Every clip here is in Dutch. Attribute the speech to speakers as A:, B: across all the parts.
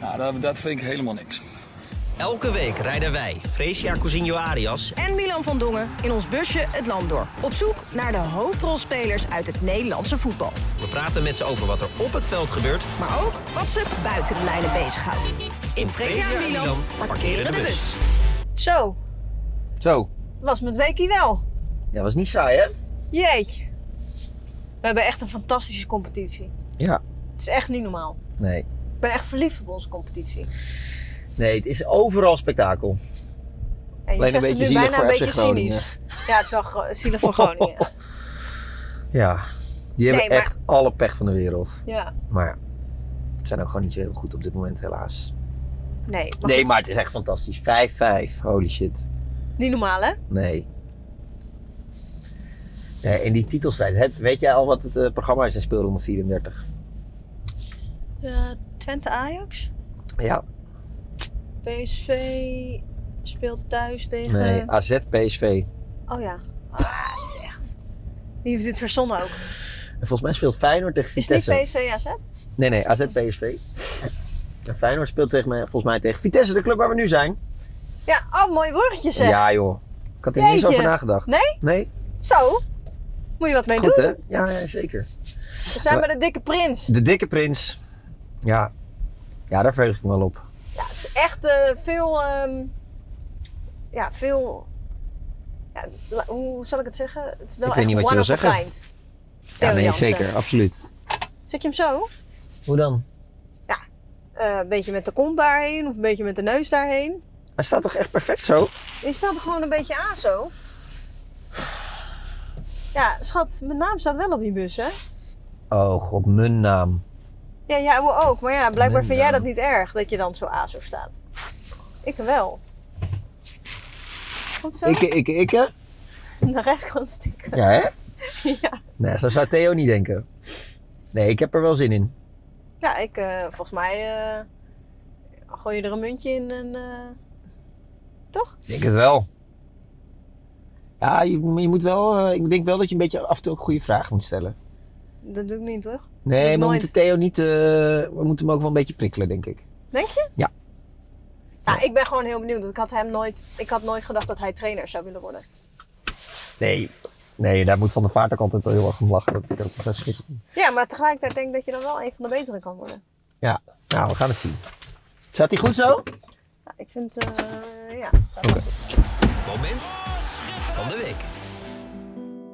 A: nou, dat, dat vind ik helemaal niks.
B: Elke week rijden wij, Fresia Cousinho Arias,
C: en Milan van Dongen in ons busje het land door. Op zoek naar de hoofdrolspelers uit het Nederlandse voetbal.
B: we praten met ze over wat er op het veld gebeurt.
C: Maar ook wat ze buiten de lijnen bezighoudt. In Fresia en Milan parkeren de bus. Zo,
A: Zo,
C: was mijn weekie wel.
B: Ja, was niet saai, hè?
C: Jeetje. We hebben echt een fantastische competitie.
B: Ja,
C: Het is echt niet normaal.
B: nee.
C: Ik ben echt verliefd op onze competitie.
B: Nee, het is overal spektakel.
C: En je
A: Alleen een
C: zegt
A: beetje
C: het nu
A: zielig
C: bijna
A: voor
C: een
A: FC
C: beetje
A: Groningen.
C: cynisch. Ja, het is wel gro- zielig voor Groningen.
A: Ja, die hebben
C: Nee, maar-
A: echt alle pech van de wereld.
C: Ja,
A: Maar ja, ze zijn ook gewoon niet zo heel goed op dit moment, helaas.
C: nee. Maar
A: nee,
C: goed.
A: maar het is echt fantastisch. 5-5, holy shit.
C: Niet normaal, hè?
A: Nee. nee in die titelstrijd, heb, weet jij al wat het eh, programma is in speelronde 34?
C: Eh, Twente Ajax.
A: Ja,
C: PSV speelt thuis tegen...
A: nee, AZ, PSV.
C: Oh ja. Ah, is echt. Die heeft dit verzonnen ook.
A: En volgens mij speelt Feyenoord tegen
C: Is het
A: Vitesse.
C: niet PSV AZ?
A: Nee, nee, AZ, PSV. En Feyenoord speelt tegen mij, volgens mij tegen Vitesse, de club waar we nu zijn.
C: Ja, oh, mooi woordje zeg.
A: Ja joh, ik had er niet eens
C: Jeetje.
A: over nagedacht.
C: Nee?
A: Nee,
C: Zo. Moet je wat mee
A: goed
C: doen.
A: hè? Ja, ja, zeker.
C: We zijn bij de dikke prins.
A: De dikke prins. Ja. Ja, daar verheug ik me wel op.
C: Ja, het is echt eh, veel... ehm, ja, veel... Ja, la- hoe zal ik het zeggen? Het is wel
A: Ik weet
C: echt
A: niet wat je
C: one
A: wil
C: of a
A: zeggen.
C: kind. Theo Jansen.
A: absoluut.
C: Zet je hem zo?
A: Hoe dan?
C: Eh, een beetje met de kont daarheen of een beetje met de neus daarheen.
A: Hij staat toch echt perfect zo?
C: Je staat er gewoon een beetje aan zo. Ja, schat, mijn naam staat wel op die bus, hè?
A: Oh god, mijn naam.
C: Ja, jij ja, ook. Maar ja, blijkbaar
A: Nee,
C: vind jij
A: ja.
C: dat niet erg dat je dan zo azo staat. Ik wel. Goed zo?
A: Ik, ik, ik, hè?
C: De rest kan stikken.
A: Ja, hè?
C: Ja.
A: Nee, zo zou Theo niet denken. Nee, ik heb er wel zin in.
C: Ja, ik, eh, volgens mij eh, gooi je er een muntje in en... eh, toch?
A: Ik denk het wel. Ja, je, je moet wel, eh, ik denk wel dat je een beetje af en toe ook goede vragen moet stellen.
C: Dat doe ik niet, toch?
A: Nee, maar we
C: nooit.
A: moeten Theo niet, eh, we moeten hem ook wel een beetje prikkelen, denk ik.
C: Denk je?
A: Ja.
C: Nou, ik ben gewoon heel benieuwd. want Ik had, hem nooit, ik had nooit gedacht dat hij trainer zou willen worden.
A: Nee. Nee, daar moet Van de Vaart ook altijd heel erg om lachen. Dat vind ik ook zo schitterend.
C: Ja, maar tegelijkertijd denk ik dat je dan wel een van de betere kan worden.
A: Ja, nou, we gaan het zien. Staat hij goed zo?
C: Ja, ik vind, eh ja.
B: Moment van de week.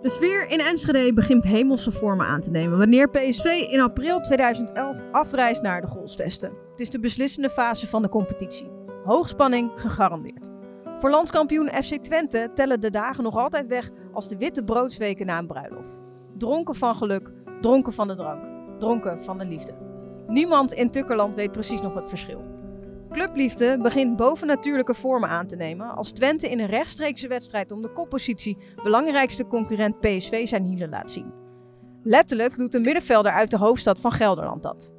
C: De sfeer in Enschede begint hemelse vormen aan te nemen wanneer PSV in april 2011 afreist naar de Golsvesten. Het is de beslissende fase van de competitie. Hoogspanning gegarandeerd. Voor landskampioen FC Twente tellen de dagen nog altijd weg als de witte broodsweken na een bruiloft. Dronken van geluk, dronken van de drank, dronken van de liefde. Niemand in Tukkerland weet precies nog het verschil. Clubliefde begint bovennatuurlijke vormen aan te nemen als Twente in een rechtstreekse wedstrijd om de koppositie belangrijkste concurrent PSV zijn hielen laat zien. Letterlijk doet de middenvelder uit de hoofdstad van Gelderland dat.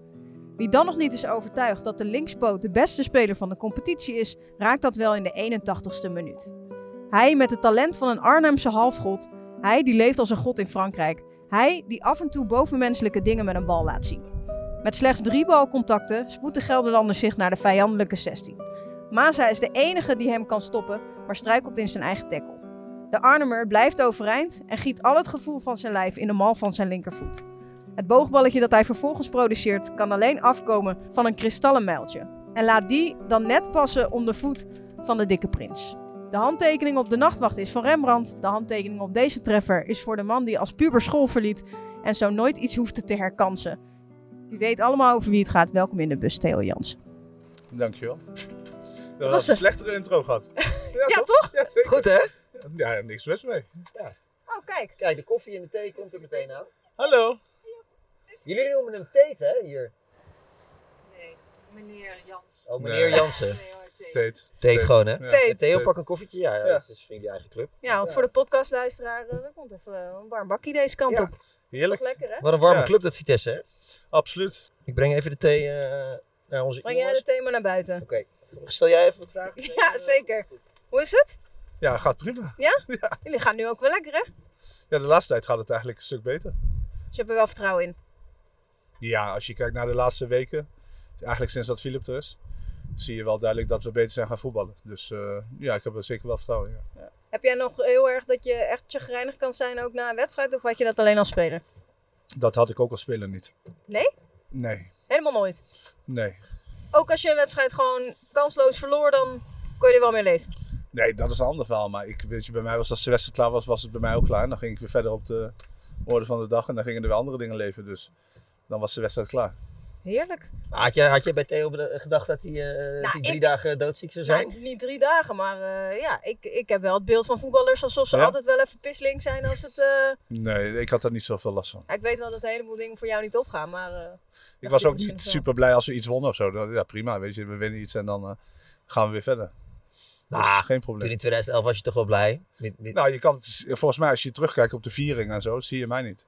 C: Wie dan nog niet is overtuigd dat de linkspoot de beste speler van de competitie is, raakt dat wel in de 81ste minuut. Hij met het talent van een Arnhemse halfgod, hij die leeft als een god in Frankrijk, hij die af en toe bovenmenselijke dingen met een bal laat zien. Met slechts drie balcontacten spoedt de Gelderlander zich naar de vijandelijke 16. Maza is de enige die hem kan stoppen, maar struikelt in zijn eigen tackle. De Arnhemmer blijft overeind en giet al het gevoel van zijn lijf in de mal van zijn linkervoet. Het boogballetje dat hij vervolgens produceert kan alleen afkomen van een kristallen mijltje. En laat die dan net passen om de voet van de dikke prins. De handtekening op de nachtwacht is van Rembrandt. De handtekening op deze treffer is voor de man die als puber school verliet en zo nooit iets hoefde te herkansen. U weet allemaal over wie het gaat. Welkom in de bus, Theo Jansen.
D: Dankjewel. Dat
C: was
D: was
C: ze.
D: een slechtere intro gehad. Ja,
C: toch?
D: Ja, zeker.
A: Goed, hè?
D: Ja, niks mis mee.
C: Oh, kijk.
A: Kijk, de koffie en de thee komt er meteen aan.
D: Hallo.
A: Jullie noemen hem thee, hè, hier?
C: meneer Jans.
A: Oh, meneer Jansen.
C: Nee hoor, T.
D: Teet.
A: Teet gewoon, hè?
E: Teet.
A: Theo, pak een koffietje. Ja, ja,
D: Ja.
A: dat is vriend je eigen club.
E: Ja, want voor de podcastluisteraar, eh, er komt even eh, een warm bakkie deze kant
D: Ja,
E: op. Toch
D: Heerlijk.
E: lekker, hè?
A: Wat een warme
D: Ja.
A: club dat Vitesse, hè?
D: Absoluut.
A: Ik breng even de thee eh, naar onze
E: Breng jij
A: jongens.
E: het thema naar buiten?
A: Oké. Stel jij even wat vragen?
E: Ja, zeker. Hoe is het?
D: Ja, gaat prima.
E: Jullie gaan nu ook wel lekker, hè?
D: Ja, de laatste tijd gaat het eigenlijk een stuk beter.
E: Dus je hebt er wel vertrouwen in.
D: Ja, als je kijkt naar de laatste weken, eigenlijk sinds dat Philip er is, zie je wel duidelijk dat we beter zijn gaan voetballen. Dus eh, ja, ik heb er zeker wel vertrouwen in. ja.
E: Heb jij nog heel erg dat je echt chagrijnig kan zijn ook na een wedstrijd? Of had je dat alleen als speler?
D: Dat had ik ook als speler niet.
E: Nee?
D: Nee,
E: Helemaal nooit.
D: nee.
E: Ook als je een wedstrijd gewoon kansloos verloor, dan kon je er wel mee leven.
D: Nee, dat is een ander verhaal. Maar ik, weet je, bij mij was als de wedstrijd klaar was, was het bij mij ook klaar. En dan ging ik weer verder op de orde van de dag en dan gingen er weer andere dingen leven. Dus dan was de wedstrijd klaar.
E: Heerlijk.
A: Maar Had jij, had jij bij Theo beda- gedacht dat hij eh, dat hij drie
E: Nou, ik-
A: dagen doodziek zou zijn?
E: Nou, niet drie dagen, maar eh, ja, ik, ik heb wel het beeld van voetballers alsof ze
D: Ja?
E: altijd wel even pisling zijn als het... eh,
D: Nee, ik had daar niet zoveel last van.
E: ja, ik weet wel dat een heleboel dingen voor jou niet opgaan, maar... eh,
D: Ik
E: dacht
D: was
E: je
D: ook
E: misschien
D: niet
E: wel.
D: super blij als we iets wonnen of zo. Dan- Ja, prima. Weet je, we winnen iets en dan eh, gaan we weer verder.
A: Nou,
D: Geen
A: toen
D: probleem.
A: in 2011 was je toch wel blij? Met, met-
D: Nou, je kan het, volgens mij, als je terugkijkt op de viering en zo, zie je mij niet.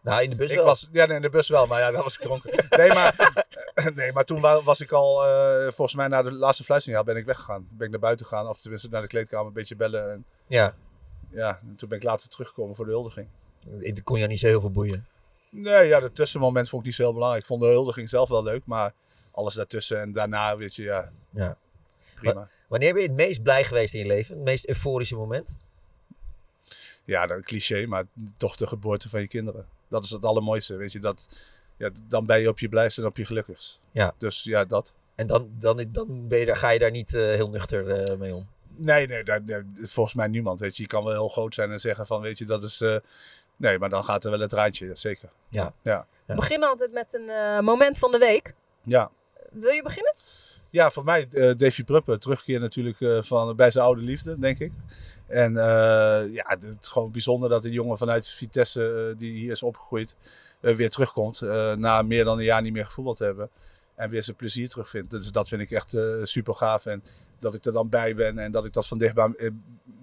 A: nou, in de bus
D: ik
A: wel.
D: was, ja, nee, in de bus wel, maar ja, daar was ik dronken. Nee, maar, eh, nee, maar toen wa- was ik al, eh, volgens mij, na de laatste fluitsignaal ben ik weggegaan. Ben ik naar buiten gegaan, of tenminste naar de kleedkamer, een beetje bellen. En,
A: Ja,
D: ja, en toen ben ik later teruggekomen voor de huldiging.
A: het kon jou niet zo heel veel boeien.
D: Nee, ja, dat tussenmoment vond ik niet zo heel belangrijk. Ik vond de huldiging zelf wel leuk, maar alles daartussen en daarna, weet je, ja,
A: Ja.
D: prima.
A: Wanneer ben je het meest blij geweest in je leven? Het meest euforische moment?
D: ja, dat cliché, maar toch de geboorte van je kinderen. Dat is het allermooiste, weet je. Dat, ja, dan ben je op je blijste en op je gelukkigst.
A: Ja.
D: Dus ja, dat.
A: En dan, dan, dan ben je, daar- ga je daar niet eh, heel nuchter eh, mee om.
D: Nee, nee, daar- daar- volgens mij niemand, weet je. Je kan wel heel groot zijn en zeggen van, weet je, dat is... eh, nee, maar dan gaat er wel het raadje, ja, zeker.
E: We beginnen altijd met een eh, moment van de week.
D: Ja.
E: Wil je beginnen?
D: Ja, voor mij eh Davy Pruppen. Terugkeer natuurlijk eh, van, bij zijn oude liefde, denk ik. En eh, ja, het is gewoon bijzonder dat een jongen vanuit Vitesse, eh, die hier is opgegroeid, eh, weer terugkomt. eh, na meer dan een jaar niet meer gevoetbald te hebben. En weer zijn plezier terugvindt. Dus dat vind ik echt super gaaf. En dat ik er dan bij ben en dat ik dat van dichtbij eh,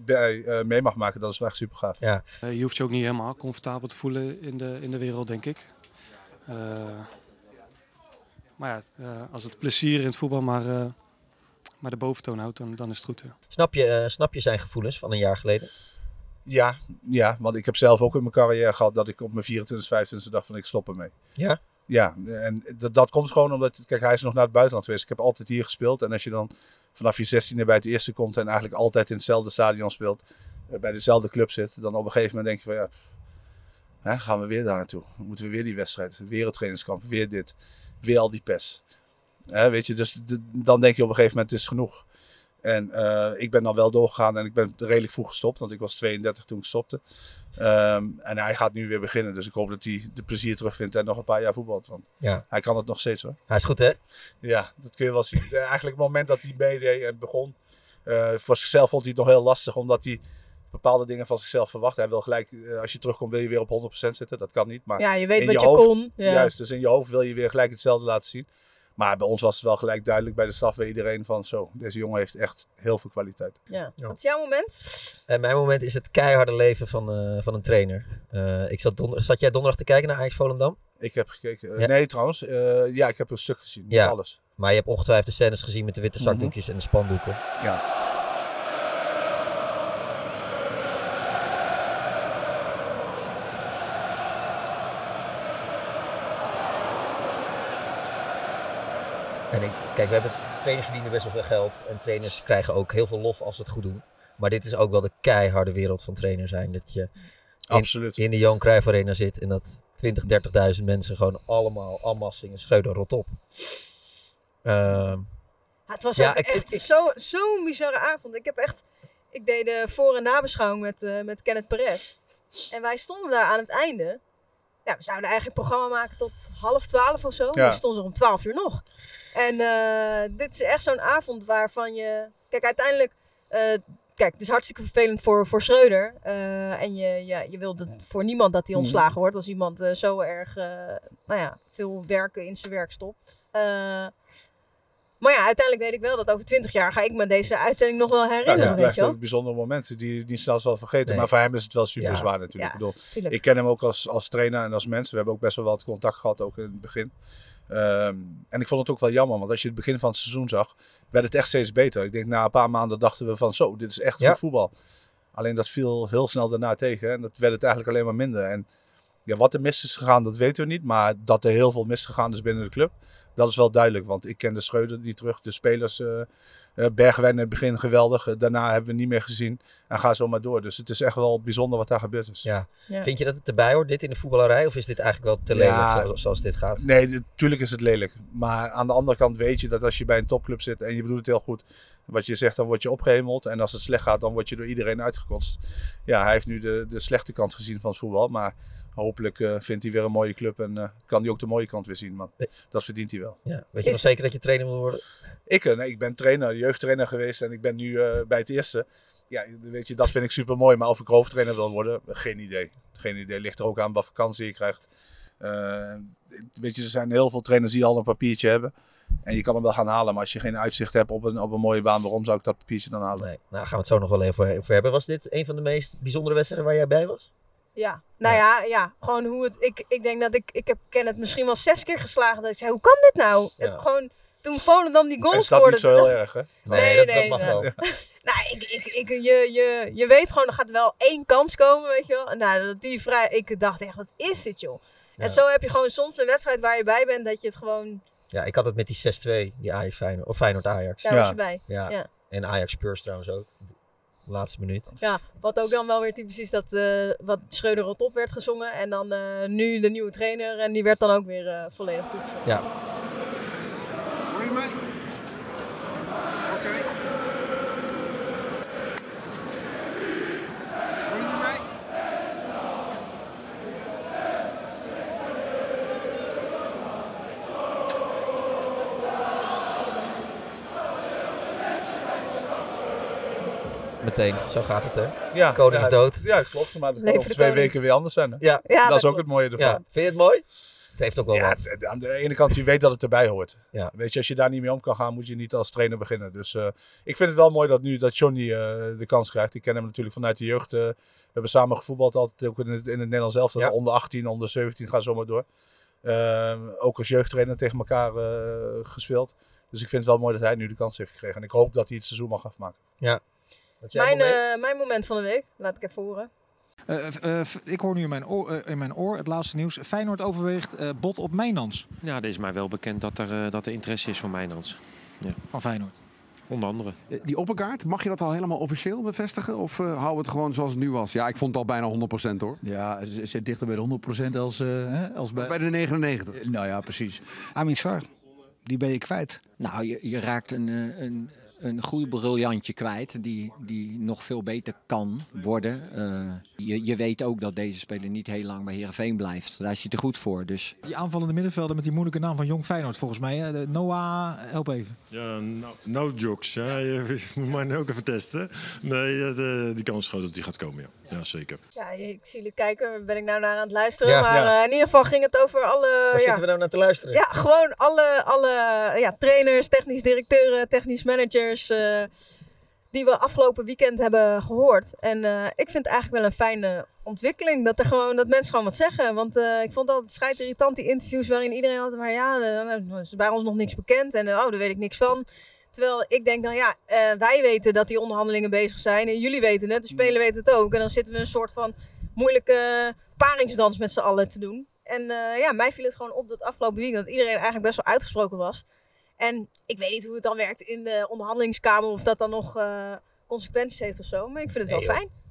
D: bij, eh, mee mag maken, dat is wel echt super gaaf.
F: Eh, Je hoeft je ook niet helemaal comfortabel te voelen in de, in de wereld, denk ik. Eh, maar ja, eh, als het plezier in het voetbal maar, eh, maar de boventoon houdt, dan, dan is het goed. hè.
A: Snap je, eh, snap je zijn gevoelens van een jaar geleden?
D: Ja, ja, want ik heb zelf ook in mijn carrière gehad dat ik op mijn 24, 25 dacht van ik stop ermee.
A: Ja?
D: Ja, en dat, dat komt gewoon omdat, kijk, hij is nog naar het buitenland geweest. Ik heb altijd hier gespeeld en als je dan vanaf je 16e bij het eerste komt en eigenlijk altijd in hetzelfde stadion speelt, eh, bij dezelfde club zit, dan op een gegeven moment denk je van ja, pff, hè, gaan we weer daar naartoe? Moeten we weer die wedstrijd, weer het trainingskamp, weer dit, weer al die pes. Hè, weet je, dus d- dan denk je op een gegeven moment het is genoeg. En eh, ik ben dan wel doorgegaan en ik ben redelijk vroeg gestopt, want ik was 32 toen ik stopte. Ehm, en hij gaat nu weer beginnen, dus ik hoop dat hij de plezier terugvindt en nog een paar jaar voetbalt. Want
A: Ja.
D: hij kan het nog steeds hoor.
A: Hij is goed, hè?
D: Ja, dat kun je wel zien. Eh, Eigenlijk het moment dat hij meedeed en begon, eh, voor zichzelf vond hij het nog heel lastig, omdat hij bepaalde dingen van zichzelf verwacht. Hij wil gelijk, eh, als je terugkomt, wil je weer op 100% zitten. Dat kan niet, maar
E: Ja, je weet
D: in
E: wat
D: je
E: je,
D: hoofd.
E: kon. Ja.
D: Juist, dus in je hoofd wil je weer gelijk hetzelfde laten zien. Maar bij ons was het wel gelijk duidelijk bij de staf bij iedereen van zo, deze jongen heeft echt heel veel kwaliteit.
E: Ja.
A: Ja.
E: Wat is jouw moment?
A: En mijn moment is het keiharde leven van, eh, van een trainer. Eh, ik zat, donder- zat jij donderdag te kijken naar Ajax Volendam?
D: Ik heb gekeken. eh,
A: Ja.
D: Nee, trouwens, eh, ja, ik heb een stuk gezien.
A: Ja.
D: Ja. Alles.
A: Maar je hebt ongetwijfeld de scènes gezien met de witte zakdoekjes en de spandoeken.
D: Mhm. Ja.
A: En ik, kijk, we hebben, trainers verdienen best wel veel geld. En trainers krijgen ook heel veel lof als ze het goed doen. Maar dit is ook wel de keiharde wereld van trainer zijn. Dat je
D: Absoluut.
A: in de Johan Cruijff Arena zit en dat 20, 30.000 mensen gewoon allemaal allemaal zingen schreeuwen rot op. Ehm,
E: Ja, het was
A: Ja,
E: ook
A: ik-
E: echt
A: ik-
E: zo- zo'n bizarre avond. Ik heb echt... Ik deed de voor- en nabeschouwing met, eh, met Kenneth Perez. En wij stonden daar aan het einde. Ja, we zouden eigenlijk een programma maken tot half twaalf of zo.
D: Ja.
E: We stonden er om twaalf uur nog. En eh, dit is echt zo'n avond waarvan je... Kijk, uiteindelijk... eh, kijk, het is hartstikke vervelend voor, voor Schreuder. Eh, en je, ja, je wil dat voor niemand dat hij ontslagen wordt als iemand eh, zo erg eh, nou ja, veel werken in zijn werk stopt. Eh, maar ja, uiteindelijk weet ik wel dat over twintig jaar ga ik me deze uitzending nog wel
D: Ja,
E: herinneren.
D: dat
E: weet
D: blijft
E: je wel?
D: een bijzonder moment. Die, die zelfs wel vergeten.
E: Nee.
D: Maar voor hem is het wel super zwaar natuurlijk.
E: Ja,
D: ik, bedoel,
E: tuurlijk.
D: ik ken hem ook als, als trainer en als mens. We hebben ook best wel wat contact gehad, ook in het begin. Ehm, en ik vond het ook wel jammer, want als je het begin van het seizoen zag, werd het echt steeds beter. Ik denk na een paar maanden dachten we van zo, dit is echt
A: Ja.
D: goed voetbal. Alleen dat viel heel snel daarna tegen en dat werd het eigenlijk alleen maar minder. En ja, wat er mis is gegaan, dat weten we niet. Maar dat er heel veel misgegaan is binnen de club, dat is wel duidelijk. Want ik ken de Schreuder niet terug, de spelers. eh eh, Bergwijn in het begin geweldig, eh, daarna hebben we hem niet meer gezien. En ga zo maar door. Dus het is echt wel bijzonder wat daar gebeurd is.
A: Ja.
E: Ja.
A: Vind je dat het erbij hoort, dit in de voetballerij? Of is dit eigenlijk wel te lelijk
D: Ja.
A: zo- zoals dit gaat?
D: Nee, natuurlijk is het lelijk. Maar aan de andere kant weet je dat als je bij een topclub zit en je doet het heel goed. Wat je zegt, dan word je opgehemeld. En als het slecht gaat, dan word je door iedereen uitgekotst. Ja, hij heeft nu de, de slechte kant gezien van het voetbal. Maar hopelijk eh, vindt hij weer een mooie club en eh, kan hij ook de mooie kant weer zien. Want dat verdient hij wel.
A: Ja. Weet je nog zeker dat je trainer wil worden?
D: Ik, eh, nee, ik ben trainer, jeugdtrainer geweest en ik ben nu eh, bij het eerste. Ja, weet je, dat vind ik super mooi. Maar of ik hoofdtrainer wil worden, geen idee. Geen idee. Ligt er ook aan wat vakantie je krijgt. Eh, weet je, er zijn heel veel trainers die al een papiertje hebben. En je kan hem wel gaan halen. Maar als je geen uitzicht hebt op een, op een mooie baan, waarom zou ik dat papiertje dan halen?
A: Nee, nou gaan we het zo nog wel even over hebben. Was dit een van de meest bijzondere wedstrijden waar jij bij was?
E: Ja, nou ja, ja. gewoon hoe het. Ik, ik denk dat ik. Ik heb ken het misschien wel zes keer geslagen. Dat ik zei: hoe kan dit nou?
A: Ja.
E: En Gewoon toen Volendam die goal
D: is dat
E: scoorde.
D: niet zo heel erg, hè?
A: Nee, dat, dat mag
E: nee.
A: wel.
E: Nou, ik, ik, ik, je, je, je weet gewoon, er gaat wel één kans komen, weet je wel. En nou, dat die vrij, ik dacht echt, wat is dit, joh?
A: Ja.
E: En zo heb je gewoon soms een wedstrijd waar je bij bent, dat je het gewoon...
A: Ja, ik had het met die 6-2, die Ajax Feyenoord, of Feyenoord Ajax.
E: Daar was je bij.
A: Ja.
E: Ja.
A: En Ajax Spurs trouwens ook. De laatste minuut.
E: Ja, wat ook dan wel weer typisch is, dat eh, wat Schreuder rot op werd gezongen. En dan eh, nu de nieuwe trainer, en die werd dan ook weer eh, volledig toegezongen.
A: Ja.
F: Hoor je mij? Oké. Hoor je mij?
A: Meteen. Zo gaat het, hè?
D: Ja,
A: Koning is
D: ja,
A: dood.
D: Ja, klopt. Maar dat kan
A: Leven
D: over
A: de
D: twee
A: koning.
D: weken weer anders zijn. Hè?
A: Ja. Ja,
D: dat,
A: dat
D: is ook
A: klopt.
D: het mooie ervan.
A: Ja. Vind je het mooi? Het heeft ook wel
D: Ja,
A: wat.
D: het- aan de ene kant, je weet dat het erbij hoort.
A: Ja.
D: Weet je, als je daar niet mee om kan gaan, moet je niet als trainer beginnen. Dus eh, ik vind het wel mooi dat nu dat Johnny eh, de kans krijgt. Ik ken hem natuurlijk vanuit de jeugd. eh, we hebben samen gevoetbald altijd ook in het, in het Nederlands elftal. Onder 18, onder 17, ga zo maar door. Ehm, ook als jeugdtrainer tegen elkaar eh, gespeeld. Dus ik vind het wel mooi dat hij nu de kans heeft gekregen. En ik hoop dat hij het seizoen mag afmaken.
A: Ja.
E: Mijn, moment? mijn moment van de week, laat ik even horen.
G: Eh, f- eh, f- ik hoor nu in mijn, oor, eh, in mijn oor het laatste nieuws. Feyenoord overweegt eh, bot op Mijnans
H: Ja, het is mij wel bekend dat er, eh, dat er interesse is voor Mijnans. Ja.
G: van Feyenoord.
H: Onder andere.
I: Eh, Die opperkaart, mag je dat al helemaal officieel bevestigen? Of eh hou het gewoon zoals het nu was? Ja, ik vond het al bijna 100% hoor.
J: Ja, ze zit dichter bij de 100% als, eh, hè, als bij...
I: Bij de 99.
J: nou ja, precies.
K: Amin Sar, die ben je kwijt. Nou, je, je raakt een, eh, een, een groeibriljantje kwijt die, die nog veel beter kan worden. Eh, je, je weet ook dat deze speler niet heel lang bij Heerenveen blijft. Daar is hij te goed voor. Dus
G: Die aanvallende middenvelder met die moeilijke naam van Jong Feyenoord volgens mij. hè? De Noah, help even.
L: Ja, no, no jokes. Hè. Je moet mij nu ook even testen. Nee, eh, de- die kans is groot dat die gaat komen, ja. ja zeker.
E: Ja, ik zie jullie kijken, ben ik nou naar aan het luisteren.
L: Ja.
E: maar
L: Ja.
E: eh, in ieder geval ging het over alle...
A: Waar
E: ja.
A: zitten we nou naar te luisteren?
E: Ja, gewoon alle, alle ja, trainers, technisch directeuren, technisch managers. eh, die we afgelopen weekend hebben gehoord. En eh, ik vind het eigenlijk wel een fijne ontwikkeling. Dat, er gewoon, dat mensen gewoon wat zeggen. Want eh, ik vond altijd schijt irritant die interviews waarin iedereen altijd maar ja, eh, er is bij ons nog niks bekend. En eh, oh, daar weet ik niks van. Terwijl ik denk, nou ja, eh, wij weten dat die onderhandelingen bezig zijn. En jullie weten het, de
D: Mm.
E: spelers weten het ook. En dan zitten we een soort van moeilijke paringsdans met z'n allen te doen. En eh, ja, mij viel het gewoon op dat afgelopen weekend dat iedereen eigenlijk best wel uitgesproken was. En ik weet niet hoe het dan werkt in de onderhandelingskamer, of dat dan nog eh, consequenties heeft of zo. Maar ik vind het
D: Nee, joh.
E: wel fijn.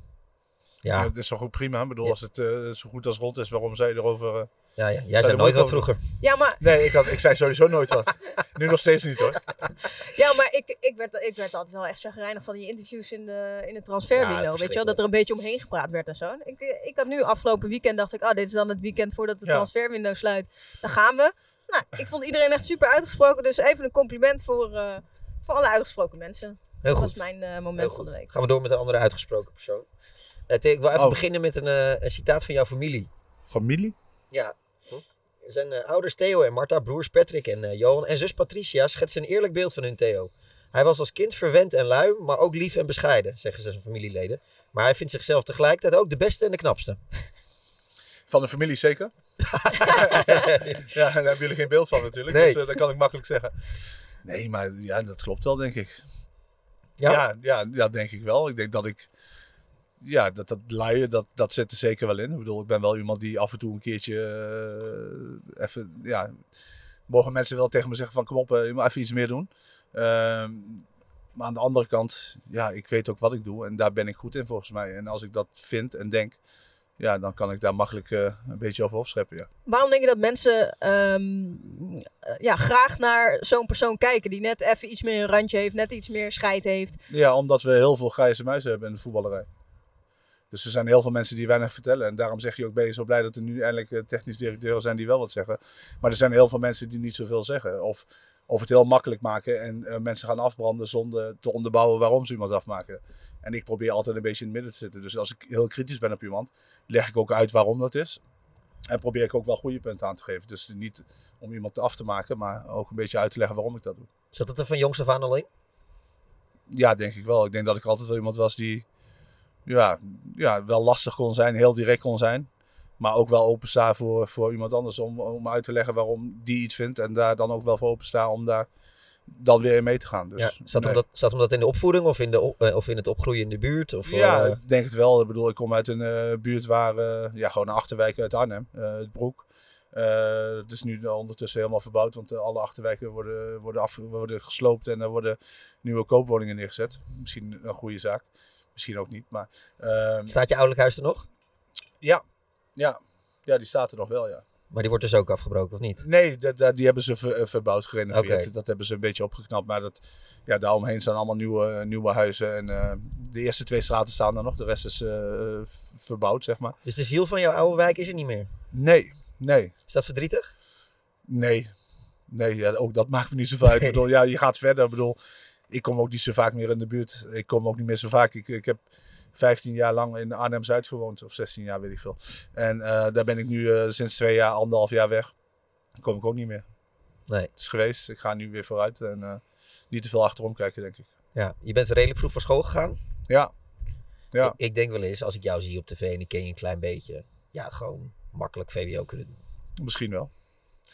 D: Ja. dat is toch ook prima. Ik bedoel, als het eh, zo goed als rond is, waarom zei je erover... eh,
A: Ja, ja.
D: zou
A: Jij
D: je
A: zei
D: er
A: nooit wat
D: over-
A: vroeger.
E: Ja, maar,
D: Nee, ik, had, ik zei sowieso nooit wat. nu nog steeds niet hoor.
E: ja, maar ik, ik, werd, ik werd altijd wel echt chagrijnig van die interviews in de, in de transferwindow. weet je wel, dat er een beetje omheen gepraat werd en zo. En Ik, ik had nu afgelopen weekend, dacht ik, ah, dit is dan het weekend voordat de
M: Ja.
E: transferwindow sluit. Dan gaan we. Nou, ik vond iedereen echt super uitgesproken. Dus even een compliment voor, eh, voor alle uitgesproken mensen.
A: Heel
E: dat
A: goed.
E: was mijn eh,
A: Heel
E: moment van
A: goed.
E: de week.
A: Gaan we door met een andere uitgesproken persoon. Eh, Theo, ik wil even
E: Oh.
A: beginnen met een, eh, een citaat van jouw familie.
H: Familie?
A: Ja. Er Zijn eh, ouders Theo en Marta, broers Patrick en eh, Johan en zus Patricia schetsen een eerlijk beeld van hun Theo. Hij was als kind verwend en lui, maar ook lief en bescheiden, zeggen ze zijn familieleden. Maar hij vindt zichzelf tegelijkertijd ook de beste en de knapste.
H: Van de familie zeker? ja, daar hebben jullie geen beeld van natuurlijk.
A: Nee.
H: Dus eh, dat kan ik makkelijk zeggen. Nee, maar ja, dat klopt wel, denk ik.
A: Ja?
H: Ja, ja, ja, denk ik wel. Ik denk dat ik... Ja, dat, dat luien, dat, dat zit er zeker wel in. Ik bedoel, ik ben wel iemand die af en toe een keertje eh, even... Ja, mogen mensen wel tegen me zeggen van kom op, eh, je moet even iets meer doen. Ehm, maar aan de andere kant, ja, ik weet ook wat ik doe. En daar ben ik goed in volgens mij. En als ik dat vind en denk, ja, dan kan ik daar makkelijk eh, een beetje over opscheppen, ja.
E: Waarom denk je dat mensen ehm, eh, ja, graag naar zo'n persoon kijken die net even iets meer een randje heeft, net iets meer scheid heeft?
H: Ja, omdat we heel veel grijze muizen hebben in de voetballerij. Dus er zijn heel veel mensen die weinig vertellen. En daarom zeg je ook, ben je zo blij dat er nu eindelijk eh, technisch directeuren zijn die wel wat zeggen. Maar er zijn heel veel mensen die niet zoveel zeggen. Of, of het heel makkelijk maken en eh, mensen gaan afbranden zonder te onderbouwen waarom ze iemand afmaken. En ik probeer altijd een beetje in het midden te zitten. Dus als ik heel kritisch ben op iemand, leg ik ook uit waarom dat is. En probeer ik ook wel goede punten aan te geven. Dus niet om iemand af te maken, maar ook een beetje uit te leggen waarom ik dat doe.
A: Zat dat er van jongs af aan alleen?
H: Ja, denk ik wel. Ik denk dat ik altijd wel iemand was die ja, ja, wel lastig kon zijn, heel direct kon zijn. Maar ook wel openstaan voor, voor iemand anders om, om uit te leggen waarom die iets vindt. En daar dan ook wel voor openstaan om daar dan weer in mee te gaan. Dus,
A: ja, zat, hem
H: nee.
A: dat, zat hem dat in de opvoeding of in, de, op- eh, of in het opgroeien in de buurt? Of,
H: Ja,
A: eh,
H: ik denk het wel. Ik bedoel, ik kom uit een eh, buurt waar, eh, ja, gewoon een achterwijk uit Arnhem, eh, het Broek. Eh, het is nu ondertussen helemaal verbouwd, want eh, alle achterwijken worden, worden, af, worden gesloopt en er worden nieuwe koopwoningen neergezet. Misschien een goede zaak, misschien ook niet. Maar,
A: Staat je ouderlijk huis er nog?
H: Ja. Ja. ja, die staat er nog wel, ja.
A: Maar die wordt dus ook afgebroken, of niet?
H: Nee, dat- dat- die hebben ze ver- eh, verbouwd, gerenoveerd.
A: Oké.
H: Dat hebben ze een beetje opgeknapt. Maar dat, ja, daaromheen staan allemaal nieuwe, nieuwe huizen. En eh, de eerste twee straten staan er nog. De rest is eh, eh, v- verbouwd, zeg maar.
A: Dus de ziel van jouw oude wijk is er niet meer?
H: Nee, nee.
A: Is dat verdrietig?
H: Nee. Nee, ja, ook dat maakt me niet zoveel uit. Ik bedoel, ja, je gaat verder. Ik bedoel, ik kom ook niet zo vaak meer in de buurt. Ik kom ook niet meer zo vaak. Ik, ik heb 15 jaar lang in Arnhem-Zuid gewoond. Of 16 jaar, weet ik veel. En eh, daar ben ik nu eh, sinds twee jaar, anderhalf jaar weg. Dan kom ik ook niet meer.
A: Nee.
H: Het is geweest. Ik ga nu weer vooruit. En eh, niet te veel achterom kijken, denk ik.
A: Ja, je bent redelijk vroeg van school gegaan.
H: Ja. ja.
A: Ik, ik denk wel eens, als ik jou zie op tv en ik ken je een klein beetje, ja, gewoon makkelijk VWO kunnen doen.
H: Misschien wel.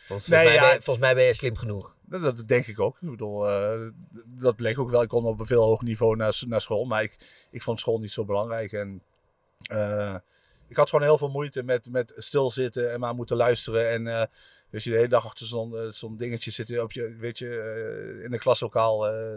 A: Volgens,
H: Nee,
A: mij,
H: ja.
A: ben je, volgens mij ben je slim genoeg.
H: Dat, dat denk ik ook. Ik bedoel, eh, d- dat bleek ook wel. Ik kon op een veel hoger niveau naar, s- naar school. Maar ik, ik vond school niet zo belangrijk. En eh, ik had gewoon heel veel moeite met, met stilzitten en maar moeten luisteren. En eh dus je de hele dag achter zo'n eh, zo'n dingetje zitten op je, weet je, eh, in een klaslokaal. eh,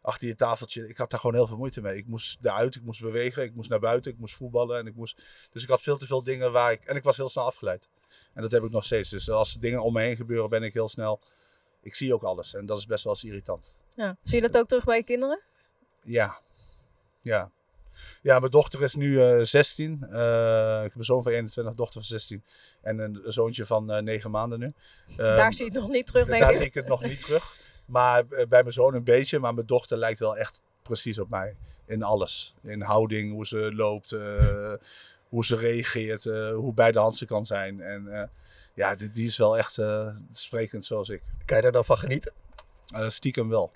H: achter je tafeltje. Ik had daar gewoon heel veel moeite mee. Ik moest eruit, ik moest bewegen, ik moest naar buiten, ik moest voetballen. En ik moest... Dus ik had veel te veel dingen waar ik... En ik was heel snel afgeleid. En dat heb ik nog steeds. Dus als er dingen om me heen gebeuren, ben ik heel snel... Ik zie ook alles. En dat is best wel eens irritant.
E: Ja. Zie je dat ook terug bij je kinderen?
H: Ja. Ja. Ja, mijn dochter is nu eh, 16. Eh, ik heb een zoon van 21, dochter van 16. En een zoontje van eh 9 maanden nu.
E: Daar
H: Ehm,
E: zie je het nog niet terug, denk
H: daar
E: ik.
H: zie ik het nog niet terug. Maar eh, bij mijn zoon een beetje. Maar mijn dochter lijkt wel echt precies op mij. In alles. In houding, hoe ze loopt, eh, hoe ze reageert, eh, hoe bij de hand ze kan zijn. En eh, ja, die, die is wel echt eh, sprekend zoals ik. Eh,
A: Kan je daar dan van genieten?
H: stiekem wel.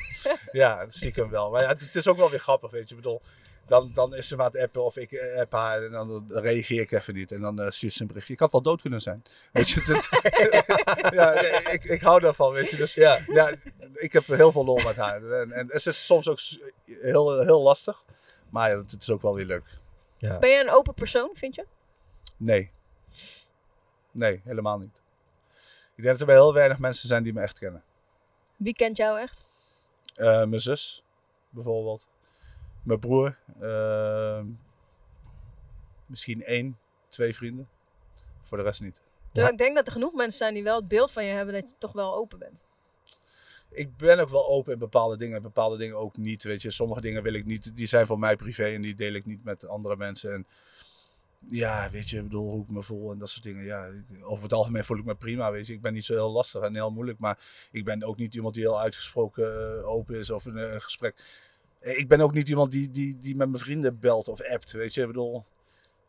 H: ja, stiekem wel. Maar ja, het, het is ook wel weer grappig, weet je. Ik bedoel, dan, dan is ze maar aan het appen of ik eh, app haar en dan reageer ik even niet. En dan eh, stuurt ze een berichtje. Ik had wel dood kunnen zijn. Weet je, dat- ja, nee, ik, ik hou daarvan, weet je. Dus ja. ik heb heel veel lol met haar. En, en het is soms ook s- heel, heel lastig. Maar ja, het is ook wel weer leuk.
E: Ben je een open persoon, vind je?
H: Nee. Nee, helemaal niet. Ik denk dat er bij heel weinig mensen zijn die me echt kennen.
E: Wie kent jou echt? Nou,
H: Eh, mijn zus, bijvoorbeeld. Mijn broer. eh, misschien één, twee vrienden. Voor de rest niet.
E: Terwijl ik denk dat er genoeg mensen zijn die wel het beeld van je hebben dat je toch wel open bent.
H: Ik ben ook wel open in bepaalde dingen en bepaalde dingen ook niet. Weet je, sommige dingen wil ik niet. Die zijn voor mij privé en die deel ik niet met andere mensen. En Ja, weet je, ik bedoel, hoe ik me voel en dat soort dingen. Ja, ik- over het algemeen voel ik me prima, weet je. Ik ben niet zo heel lastig en heel moeilijk, maar ik ben ook niet iemand die heel uitgesproken eh, open is of een eh, gesprek. Eh, Ik ben ook niet iemand die, die, die met mijn vrienden belt of appt, weet je. Ik bedoel,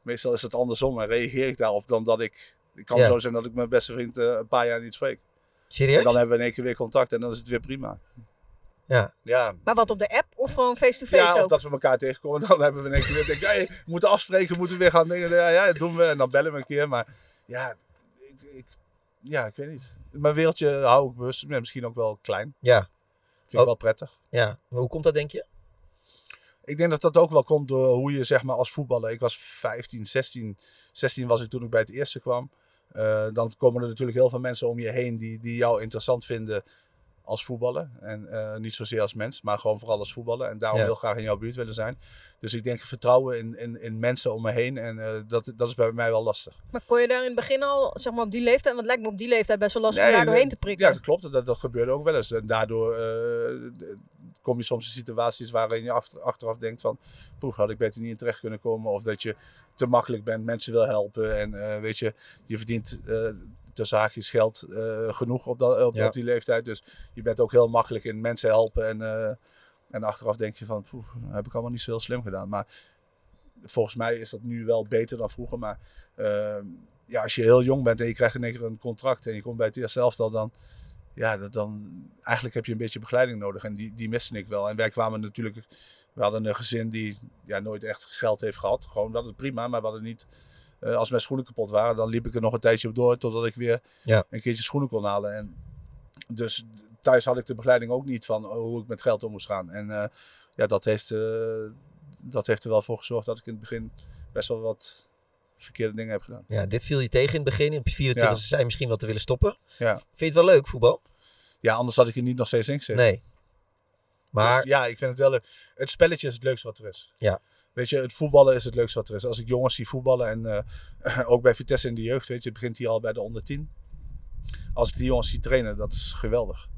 H: meestal is het andersom en reageer ik daarop dan dat ik... Het kan
A: Ja.
H: zo zijn dat ik mijn beste vriend eh, een paar jaar niet spreek.
A: Serieus?
H: En dan hebben we in één keer weer contact en dan is het weer prima.
A: Ja.
H: Ja,
E: Maar wat op de app of gewoon face-to-face
H: ja, of
E: ook?
H: dat we elkaar tegenkomen. Dan hebben we in één keer weer, denk, ik, hey, we moeten afspreken, we moeten weer gaan dingen. Ja, ja, dat doen we. En dan bellen we een keer. Maar ja, ik, ik, ja, ik weet niet. Mijn wereldje hou ik bewust, ja, misschien ook wel klein.
A: Ja.
H: Vind ik wel prettig.
A: Ja, maar hoe komt dat denk je?
H: Ik denk dat dat ook wel komt door hoe je zeg maar als voetballer. Ik was 15, 16. 16 was ik toen ik bij het eerste kwam. Eh, dan komen er natuurlijk heel veel mensen om je heen die, die jou interessant vinden als voetballer. En eh, niet zozeer als mens, maar gewoon vooral als voetballer. En daarom
N: Ja.
H: heel graag in jouw buurt willen zijn. Dus ik denk vertrouwen in, in, in mensen om me heen. En eh, dat, dat is bij mij wel lastig.
E: Maar kon je daar in het begin al, zeg maar op die leeftijd, want het lijkt me op die leeftijd best wel lastig om
H: Nee,
E: daar doorheen
H: nee,
E: te prikken.
H: Ja, dat klopt. Dat, dat gebeurde ook wel eens. En daardoor eh, d- kom je soms in situaties waarin je achter- achteraf denkt van... Poeh, had ik beter niet in terecht kunnen komen. Of dat je te makkelijk bent, mensen wil helpen. En eh, weet je, je verdient eh tussen haakjes geld eh, genoeg op, dat, op,
A: Ja.
H: op die leeftijd. Dus je bent ook heel makkelijk in mensen helpen. En, eh, en achteraf denk je van, poeh, heb ik allemaal niet zo heel slim gedaan. Maar volgens mij is dat nu wel beter dan vroeger. Maar ehm, ja, als je heel jong bent en je krijgt in één keer een contract en je komt bij het eerste elftal, dan, ja, dat, dan eigenlijk heb je een beetje begeleiding nodig. En die, die miste ik wel. En wij kwamen natuurlijk, we hadden een gezin die ja, nooit echt geld heeft gehad. Gewoon dat het prima, maar we hadden niet. eh, als mijn schoenen kapot waren, dan liep ik er nog een tijdje op door totdat ik weer
A: Ja.
H: een keertje schoenen kon halen. En dus thuis had ik de begeleiding ook niet van oh, hoe ik met geld om moest gaan. En eh, ja, dat heeft, eh, dat heeft er wel voor gezorgd dat ik in het begin best wel wat verkeerde dingen heb gedaan.
A: Ja, dit viel je tegen in het begin. Op je 24e
H: Ja.
A: zei je misschien wel te willen stoppen.
H: Ja.
A: Vind je het wel leuk, voetbal?
H: Ja, anders had ik er niet nog steeds in gezeten.
A: Nee. Maar-
H: Dus ja, ik vind het wel leuk. Het spelletje is het leukste wat er is.
A: Ja.
H: Weet je, het voetballen is het leukste wat er is. Als ik jongens zie voetballen en eh, ook bij Vitesse in de jeugd, weet je, het begint hier al bij de onder 10. Als ik die jongens zie trainen, dat is geweldig.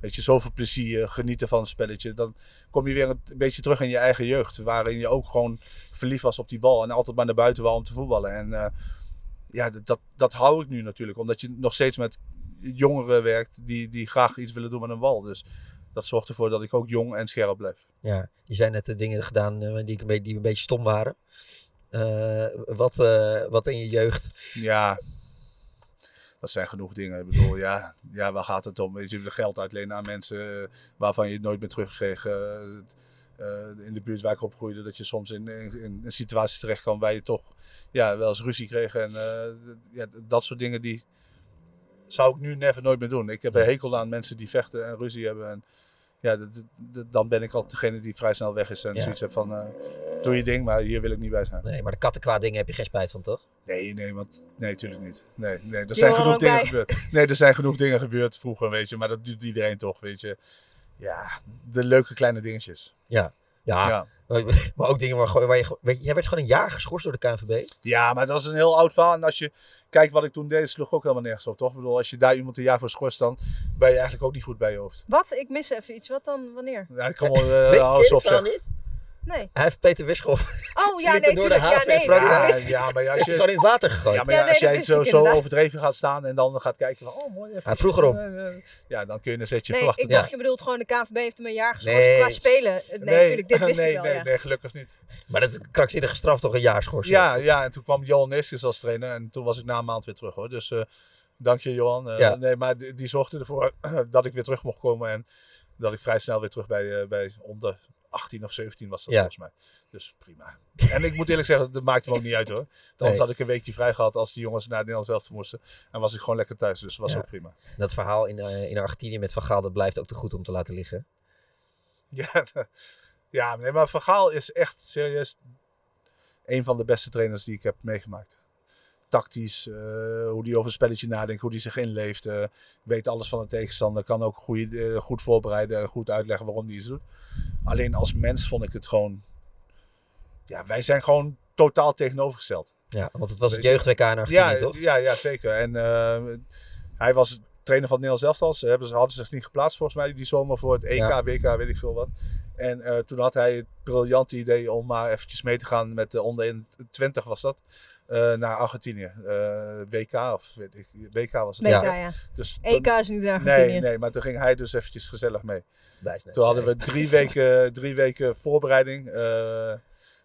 H: Weet je, zoveel plezier, genieten van een spelletje. Dan kom je weer een beetje terug in je eigen jeugd. Waarin je ook gewoon verliefd was op die bal. En altijd maar naar buiten wou om te voetballen. En eh, ja, dat- dat, dat hou ik nu natuurlijk. Omdat je nog steeds met jongeren werkt die, die graag iets willen doen met een bal. Dus dat zorgt ervoor dat ik ook jong en scherp blijf.
A: Ja, je zijn net de dingen gedaan eh, die, ik een beetje, die een beetje stom waren. Eh, wat, eh, wat in je jeugd.
H: Ja, dat zijn genoeg dingen. Ik bedoel, ja, ja waar gaat het om? Weet je, geld uitlenen aan mensen eh, waarvan je het nooit meer terugkreeg. eh, eh, in de buurt waar ik opgroeide, dat je soms in, in, in een situatie terecht kwam waar je toch ja, wel eens ruzie kreeg. En eh, ja, dat soort dingen die zou ik nu never nooit meer doen. Ik heb een hekel aan mensen die vechten en ruzie hebben. En ja, dat- dat- dat- dan ben ik altijd degene die vrij snel weg is en
A: Ja.
H: zoiets heb van... eh, Doe je ding, maar hier wil ik niet bij zijn.
A: Nee, maar de kattenkwaad dingen heb je geen spijt van, toch?
H: Nee, nee, want... Nee, natuurlijk niet. Nee, nee er
A: Die
H: zijn
A: horen
H: genoeg
A: ook
H: dingen
A: bij.
H: gebeurd. Nee, er zijn genoeg dingen gebeurd vroeger, weet je. Maar dat doet iedereen toch, weet je. Ja, de leuke kleine dingetjes.
A: Ja. Ja.
H: Ja.
A: Maar ook dingen waar, gewoon- waar je... gewoon- Weet je, jij werd gewoon een jaar geschorst door de
H: Eh,
A: KNVB.
H: Ja, maar dat is een heel oud verhaal. En als je kijkt wat ik toen deed, sloeg ook helemaal nergens op, toch? Ik bedoel, als je daar iemand een jaar voor schorst, dan ben je eigenlijk ook niet goed bij je hoofd.
E: Wat? Ik mis even iets. Wat dan? Wanneer?
H: Ja, ik kan wel... eh,
A: Weet je
H: hou
A: dit
H: eens op,
A: verhaal
H: zeg.
A: niet?
E: Nee.
A: Hij heeft Peter Wischhoff
E: Oh
A: Sliepen
E: ja, nee,
A: door de
E: tuurlijk. Ja,
A: haven in
E: nee.
H: Ja,
E: dat
A: Frankrijk.
E: wist ik.
H: ja, maar ja,
A: Hij
H: als
A: is
H: je...
A: gewoon in het water gegooid.
H: Ja, maar
E: Ja,
H: ja,
E: nee,
H: als
E: dat
H: jij
E: wist
H: zo,
E: ik
H: zo
E: inderdaad.
H: overdreven gaat staan en dan gaat kijken van... Oh, mooi. even- eh,
A: Hij vroeg erom.
H: Ja, dan kun je een zetje
E: Nee,
H: verwachten.
E: ik dacht, je bedoelt gewoon de KNVB heeft hem een jaar geschorst
A: Nee.
E: qua spelen. Nee, natuurlijk, dit wist
H: nee,
E: ik wel,
H: nee,
E: ja.
H: nee, gelukkig niet.
A: Maar dat is krankzinnig gestraft toch een jaar schorsing?
H: Ja, ja, en toen kwam Johan Neskens als trainer en toen was ik na een maand weer terug hoor. Dus eh, dank je Johan. Eh,
A: Ja.
H: Nee, maar die, die zorgde ervoor dat ik weer terug mocht komen en dat ik vrij snel weer terug bij, eh, bij onder 18 of 17 was dat
A: Ja.
H: volgens mij. Dus prima. En ik moet eerlijk zeggen, dat maakt hem ook niet uit hoor. Anders
A: Nee.
H: had ik een weekje vrij gehad als die jongens naar Nederland zelf moesten. En was ik gewoon lekker thuis, dus was
A: Ja.
H: ook prima.
A: Dat verhaal in, eh, in Argentinië met Van Gaal, dat blijft ook te goed om te laten liggen.
H: Ja, ja nee, maar Van Gaal is echt serieus een van de beste trainers die ik heb meegemaakt. Tactisch, eh, hoe hij over een spelletje nadenkt, hoe hij zich inleeft. eh, weet alles van de tegenstander, kan ook goeie, eh, goed voorbereiden en goed uitleggen waarom hij iets doet. Alleen als mens vond ik het gewoon... Ja, wij zijn gewoon totaal tegenovergesteld.
A: Ja, want het was het
H: Weet je?
A: jeugd-WK in Argentinië,
H: ja,
A: toch?
H: Ja, ja, zeker. En eh, hij was trainer van het Nederlands elftal. Ze hebben, ze hadden zich niet geplaatst volgens mij die zomer voor het EK,
A: Ja.
H: WK, weet ik veel wat. En eh, toen had hij het briljante idee om maar eventjes mee te gaan met de onder 21 was dat. eh, naar Argentinië. Eh, WK of weet ik, WK was het. Dus
E: WK, ja. EK is niet in Argentinië.
H: Nee, nee, maar toen ging hij dus eventjes gezellig mee.
A: Wijs net,
H: toen hadden
A: nee.
H: we drie weken, drie weken voorbereiding. Eh,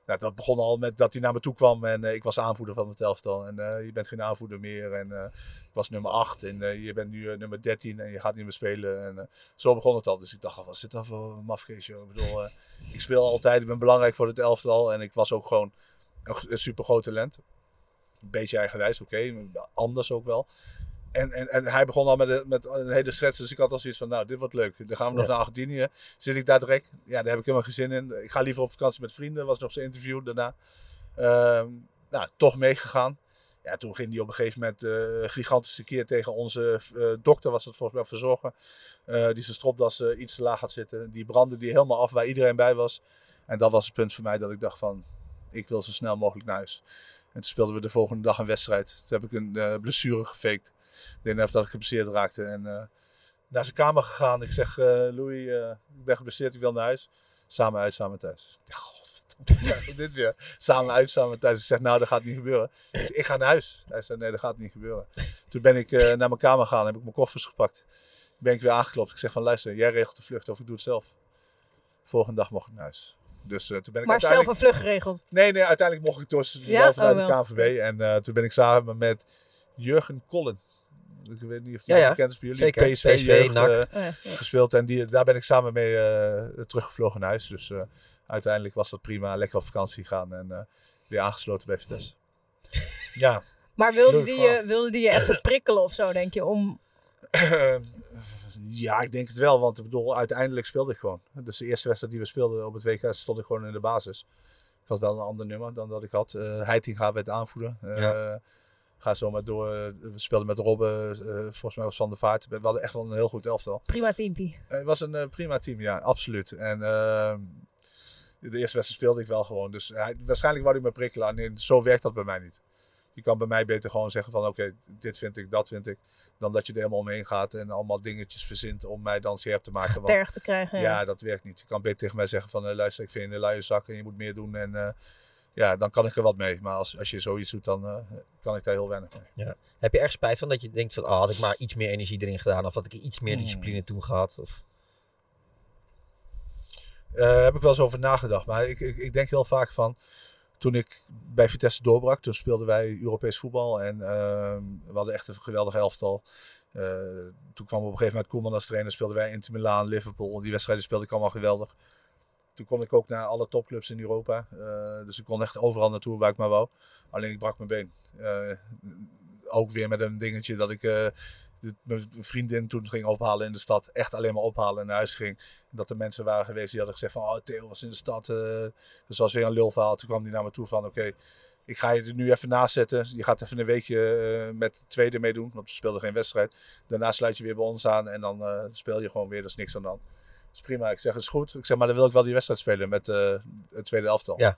H: nou, dat begon al met dat hij naar me toe kwam en eh, ik was aanvoerder van het elftal. En eh, je bent geen aanvoerder meer en eh, ik was nummer 8 en eh, je bent nu eh, nummer 13 en je gaat niet meer spelen. En, eh, zo begon het al. Dus ik dacht, al, wat zit dat voor een mafkees, joh? Ik bedoel, eh, ik speel altijd, ik ben belangrijk voor het elftal en ik was ook gewoon een, g- een super groot talent. Een beetje eigenwijs, oké, anders ook wel. En, en, en hij begon al met, een- met een hele stretch, dus ik had al zoiets van, nou, dit wordt leuk. Dan gaan we nog
O: Ja.
H: naar Argentinië. Zit ik daar direct? Ja, daar heb ik helemaal geen zin in. Ik ga liever op vakantie met vrienden, was nog zijn interview daarna. Ehm, nou, toch meegegaan. Ja, toen ging hij op een gegeven moment eh, gigantische keer tegen onze eh, dokter, was dat volgens mij, verzorger. eh, die zijn stropdas eh, iets te laag had zitten. Die brandde die helemaal af waar iedereen bij was. En dat was het punt voor mij dat ik dacht van, ik wil zo snel mogelijk naar huis. En toen speelden we de volgende dag een wedstrijd. Toen heb ik een eh, blessure gefaked. Ik denk even dat ik geblesseerd raakte. En eh, naar zijn kamer gegaan. Ik zeg, eh, Louis, eh, ik ben geblesseerd, ik wil naar huis. Samen uit, samen thuis. Ja, godverdomme, ja, dit weer. Samen uit, samen thuis. Ik zeg, nou, dat gaat niet gebeuren. Dus ik ga naar huis. Hij zei, nee, dat gaat niet gebeuren. Toen ben ik eh, naar mijn kamer gegaan, heb ik mijn koffers gepakt. Ben ik weer aangeklopt. Ik zeg van, luister, jij regelt de vlucht of ik doe het zelf. Volgende dag mocht ik naar huis. Dus eh, toen ben ik
E: Maar zelf een
H: uiteindelijk-
E: vlucht geregeld.
H: Nee, nee, uiteindelijk mocht ik door
E: Ja?
H: wel vanuit
E: Oh,
H: de
E: wel.
H: KNVB. En eh, toen ben ik samen met Jurgen Kollen. Ik weet niet of die
A: Ja, ja.
H: bekend is bij jullie.
A: Zeker.
H: PSV, jeugd,
A: NAC.
H: eh,
A: Oh, ja, ja.
H: gespeeld. En die, daar ben ik samen mee eh, teruggevlogen naar huis. Dus eh, uiteindelijk was dat prima. Lekker op vakantie gaan en eh, weer aangesloten bij Vitesse. ja.
E: Maar wilde
H: Leuk
E: die,
H: verhaal.
E: je, wilde die je even prikkelen of zo, denk je? Om...
H: Eh, ja, ik denk het wel, want ik bedoel, uiteindelijk speelde ik gewoon. Dus de eerste wedstrijd die we speelden op het WK stond ik gewoon in de basis. Ik had wel een ander nummer dan dat ik had. Eh Heitinga werd aanvoerder. Eh, Ga zo maar door. We speelden met Robben, eh, volgens mij was Van der Vaart. We hadden echt wel een heel goed elftal.
E: Prima teampie.
H: Eh, Het was een eh, prima team, ja, absoluut. En ehm, de eerste wedstrijd speelde ik wel gewoon. Dus hij, waarschijnlijk wou hij me prikkelen. Alleen zo werkt dat bij mij niet. Je kan bij mij beter gewoon zeggen van oké, dit vind ik, dat vind ik. Dan dat je er helemaal omheen gaat en allemaal dingetjes verzint om mij dan scherp te maken. want-
E: Terg te krijgen, ja.
H: Ja, dat werkt niet. Je kan beter tegen mij zeggen van eh, luister, ik vind je een luie zak en je moet meer doen. En eh, ja, dan kan ik er wat mee. Maar als, als je zoiets doet, dan eh, kan ik daar heel weinig mee.
A: Ja. Heb je erg spijt van dat je denkt van, ah, had ik maar iets meer energie erin gedaan of had ik iets meer
H: Hmm.
A: discipline toen gehad? Of...
H: Eh, heb ik wel eens over nagedacht. Maar ik, ik, ik denk heel vaak van. Toen ik bij Vitesse doorbrak, toen speelden wij Europees voetbal. En ehm, we hadden echt een geweldig elftal. Eh, toen kwam op een gegeven moment Koeman als trainer. Speelden wij Inter Milaan, Liverpool. Die wedstrijden speelde ik allemaal geweldig. Toen kon ik ook naar alle topclubs in Europa. Eh, dus ik kon echt overal naartoe waar ik maar wou. Alleen ik brak mijn been. Eh, ook weer met een dingetje dat ik eh, dit- mijn vriendin toen ging ophalen in de stad. Echt alleen maar ophalen en naar huis ging. Dat er mensen waren geweest die hadden gezegd van... Oh, Theo was in de stad. eh dus was weer een lulverhaal. Toen kwam die naar me toe van... Oké, ik ga je er nu even naast zetten. Je gaat even een weekje eh, met de tweede meedoen. Want we speelden geen wedstrijd. Daarna sluit je weer bij ons aan. En dan eh, speel je gewoon weer. Dat is niks aan de hand. Dat is prima. Ik zeg, het is goed. Ik zeg, maar dan wil ik wel die wedstrijd spelen met eh, het tweede elftal.
A: Ja.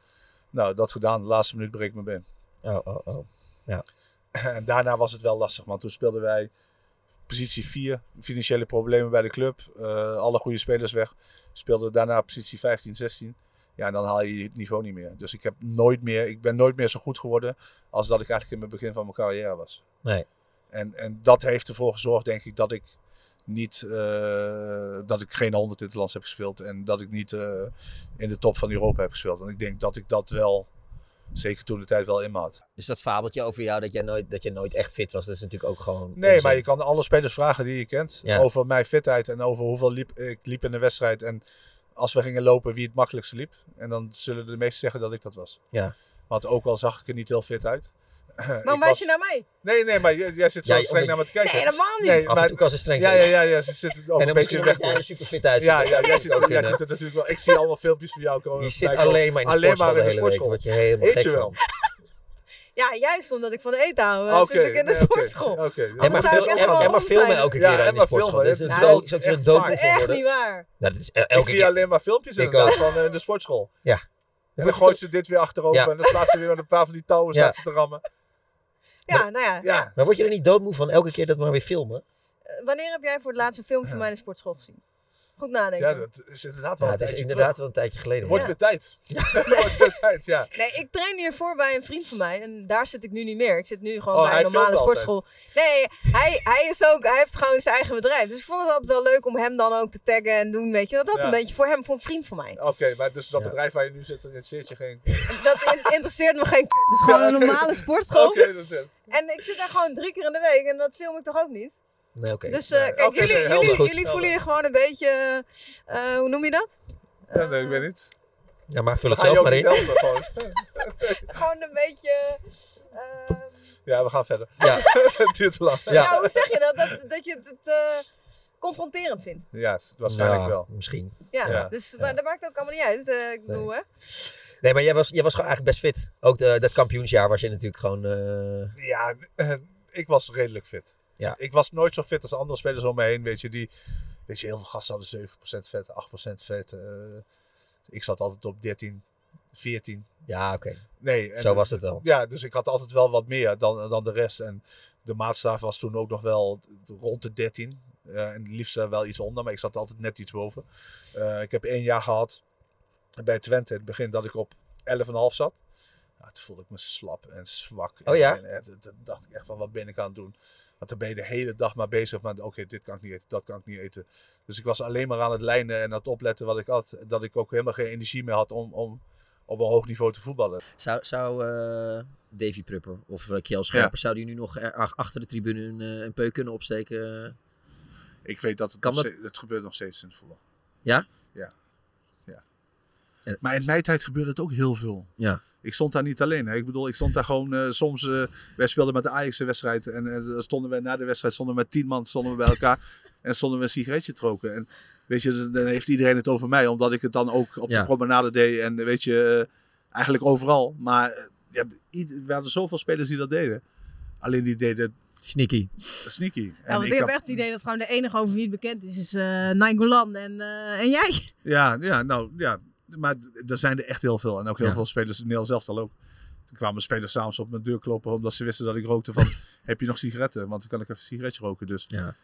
H: Nou, dat gedaan. De laatste minuut breek ik mijn been.
A: Oh, oh, oh. Ja.
H: En daarna was het wel lastig, want toen speelden wij positie 4, financiële problemen bij de club, eh, alle goede spelers weg. Speelden we daarna positie 15, 16. Ja, en dan haal je het niveau niet meer. Dus ik, heb nooit meer, ik ben nooit meer zo goed geworden als dat ik eigenlijk in het begin van mijn carrière was.
A: Nee.
H: En, en dat heeft ervoor gezorgd, denk ik, dat ik niet eh, dat ik geen 100 interlands heb gespeeld en dat ik niet eh, in de top van Europa heb gespeeld. En ik denk dat ik dat wel, zeker toen de tijd, wel in me had.
A: Dus dat fabeltje over jou dat jij nooit, dat je nooit echt fit was, dat is natuurlijk ook gewoon.
H: Nee,
A: onzin.
H: maar je kan alle spelers vragen die je kent.
A: Ja.
H: Over mijn fitheid en over hoeveel liep, ik liep in de wedstrijd. En als we gingen lopen, wie het makkelijkste liep. En dan zullen de meesten zeggen dat ik dat was.
A: Ja.
H: Want ook al zag ik er niet heel fit uit. Ik
C: Nou,
E: Waarom wijs
H: was-
E: je naar mij?
H: Nee, nee, maar jij, jij zit zo
A: Ja,
H: streng
A: omdat-
H: naar me te kijken.
E: Nee, helemaal niet.
A: Af en toe kan ze streng
H: ja, ja,
A: zijn.
H: ja, ja, ze zitten ook
A: En
H: een beetje
A: dan misschien nog
H: weg.
A: dat jij er superfit uitziet.
H: Ja,
A: dus Dat
H: ja,
A: zou
H: jij
A: ook
H: zit, ook-
A: kunnen.
H: jij zit er natuurlijk wel. Ik zie allemaal filmpjes van jou komen.
A: Je zit
H: kijken.
A: alleen maar in de sportschool de hele week,
H: sportschool.
A: word je helemaal
H: Eet
A: gek
H: je wel.
E: Ja, juist omdat ik van eten hou, eh,
H: Oké,
E: zit ik in de
H: nee, oké,
E: sportschool.
H: oké. dus
E: Anders
A: Emma,
E: zou ik
A: film,
E: echt
A: Emma,
E: wel
A: Emma
E: rond
A: filmen
E: zijn.
A: elke
H: Ja,
A: keer in de
H: Emma
A: sportschool.
H: filmen,
A: Dit is dus
H: dit
A: wel
H: is
A: zo'n
H: echt
A: dood
H: vaak.
A: voor
E: Dat is echt
A: worden.
E: niet waar.
A: Nou, dat is el-
H: Ik
A: elke
H: zie
A: keer.
H: alleen maar filmpjes
A: Ik
H: inderdaad
A: ook.
H: van eh, de sportschool.
A: Ja.
H: En dan gooit ze dit weer achterover
A: Ja.
H: en dan slaat ze weer met een paar van die touwen
A: Ja.
H: staat ze te rammen.
E: Ja, nou ja. ja.
A: Maar word je er niet doodmoe van elke keer dat maar weer filmen?
E: Eh, Wanneer heb jij voor het laatst een film van mij in de sportschool gezien?
C: Goed nadenken.
D: Ja, dat is inderdaad wel
A: Ja,
D: een
A: het is
D: tijdje
A: inderdaad
D: terug.
A: wel een tijdje geleden.
D: Wordt
C: Ja.
D: weer tijd. Wordt weer tijd, ja.
C: Nee, ik train hiervoor bij een vriend van mij. En daar zit ik nu niet meer. Ik zit nu gewoon
D: Oh,
C: bij
D: hij
C: een normale
D: filmt altijd.
C: sportschool. Nee, hij, hij, is ook, hij heeft gewoon zijn eigen bedrijf. Dus ik vond het altijd wel leuk om hem dan ook te taggen en doen. Weet je wel, dat
D: Ja.
C: een beetje voor hem, voor een vriend van mij.
D: Oké, maar dus dat bedrijf waar je nu zit, dat interesseert je geen...
C: Dat in- interesseert me geen k. Het is gewoon
D: Ja,
C: een
D: oké.
C: normale sportschool.
D: Oké, dat is het.
C: En ik zit daar gewoon drie keer in de week. En dat film ik toch ook niet?
A: Nee, oké.
C: Dus eh, kijk,
D: oké,
C: jullie,
D: nee, helder,
C: jullie,
D: goed.
C: jullie voelen je gewoon een beetje... eh, hoe noem je dat?
D: Ja, nee, ik weet niet.
A: Ja, maar vul het
D: Ga je
A: zelf
D: ook
A: maar
D: niet
A: in.
D: helpen, gewoon.
C: Gewoon een beetje... eh,
D: Ja, we gaan verder.
A: Ja.
D: het duurt te lang.
C: Ja. hoe zeg je dat? Dat, dat je het, het, eh, confronterend vindt.
D: Ja, waarschijnlijk
A: Ja,
D: wel.
A: Misschien.
C: Ja,
A: Ja.
C: Dus, maar dat maakt ook allemaal niet uit. eh, ik bedoel, hè.
A: Nee, maar jij was, jij was gewoon eigenlijk best fit. Ook de- dat kampioensjaar was je natuurlijk gewoon... eh,
D: Ja, eh, ik was redelijk fit.
A: Ja.
D: Ik was nooit zo fit als andere spelers om me heen. Weet je, die, weet je heel veel gasten hadden 7% vet, 8% vet. eh, ik zat altijd op 13, 14.
A: Ja, oké.
D: Nee.
A: Zo was het wel.
D: Ja, dus ik had altijd wel wat meer dan, dan de rest. En de maatstaf was toen ook nog wel rond de 13. eh, en het liefst eh, wel iets onder, maar ik zat altijd net iets boven. Eh, ik heb één jaar gehad bij Twente, in het begin, dat ik op 11,5 zat. Nou, toen voelde ik me slap en zwak.
A: Oh ja?
D: En, en, en toen dacht ik echt van, wat ben ik aan het doen? Want dan ben je de hele dag maar bezig met, oké, dit kan ik niet eten, dat kan ik niet eten. Dus ik was alleen maar aan het lijnen en aan het opletten wat ik had. Dat ik ook helemaal geen energie meer had om, om op een hoog niveau te voetballen.
A: Zou, zou eh, Davy Prupper of eh, Kjell Scherper, zou die nu nog er- ach- achter de tribune een, eh, een peu kunnen opsteken?
D: Ik weet dat het,
A: Kan
D: nog
A: dat-
D: steeds- het gebeurt nog steeds in het voetbal.
A: Ja?
D: Ja. ja. Maar in mijn tijd gebeurde het ook heel veel.
A: Ja.
D: Ik stond daar niet alleen. Hè. Ik bedoel, ik stond daar gewoon eh, soms... eh, wij speelden met de Ajax een wedstrijd. En eh, dan stonden wij na de wedstrijd stonden we met tien man stonden we bij elkaar. en stonden we een sigaretje te roken. En weet je, dan- dan heeft iedereen het over mij. Omdat ik het dan ook op
A: Ja.
D: de promenade deed. En weet je, eh, eigenlijk overal. Maar eh, ja, ieder- er waren zoveel spelers die dat deden. Alleen die deden...
A: Sneaky.
D: Sneaky. En
E: Ja, want
D: ik
E: ik heb
D: had-
E: echt het idee dat gewoon de enige over wie het bekend is, is eh Nainggolan en, eh, en jij.
D: Ja, ja, nou ja. Maar d- er zijn er echt heel veel. En ook heel
A: Ja.
D: veel spelers, Nederland zelf al ook. Er kwamen spelers s'avonds op mijn deur kloppen omdat ze wisten dat ik rookte van... heb je nog sigaretten? Want dan kan ik even een sigaretje roken. Dus
A: Ja.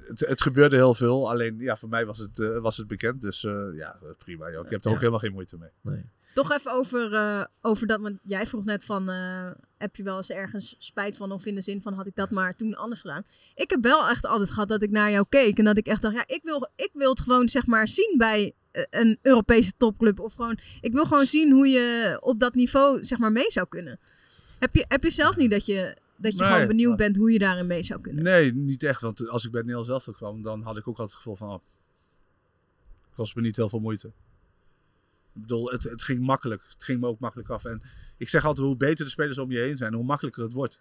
D: het, het gebeurde heel veel. Alleen ja, voor mij was het, eh, was het bekend. Dus eh, ja, prima. Joh. Ik heb er ook
A: Ja.
D: helemaal geen moeite mee.
E: Toch even over, eh, over dat, want jij vroeg net van, eh, heb je wel eens ergens spijt van of in de zin van, had ik dat maar toen anders gedaan? Ik heb wel echt altijd gehad dat ik naar jou keek en dat ik echt dacht, ja, ik wil, ik wil het gewoon zeg maar zien bij eh, een Europese topclub. Of gewoon, ik wil gewoon zien hoe je op dat niveau zeg maar mee zou kunnen. Heb je, heb je zelf niet dat je, dat je
D: Nee,
E: gewoon benieuwd
D: maar-
E: bent hoe je daarin mee zou kunnen?
D: Nee, niet echt. Want als ik bij Nederland zelf kwam, dan had ik ook altijd het gevoel van... Oh, kost me niet heel veel moeite. Ik bedoel, het, het ging makkelijk. Het ging me ook makkelijk af. En ik zeg altijd, hoe beter de spelers om je heen zijn, hoe makkelijker het wordt.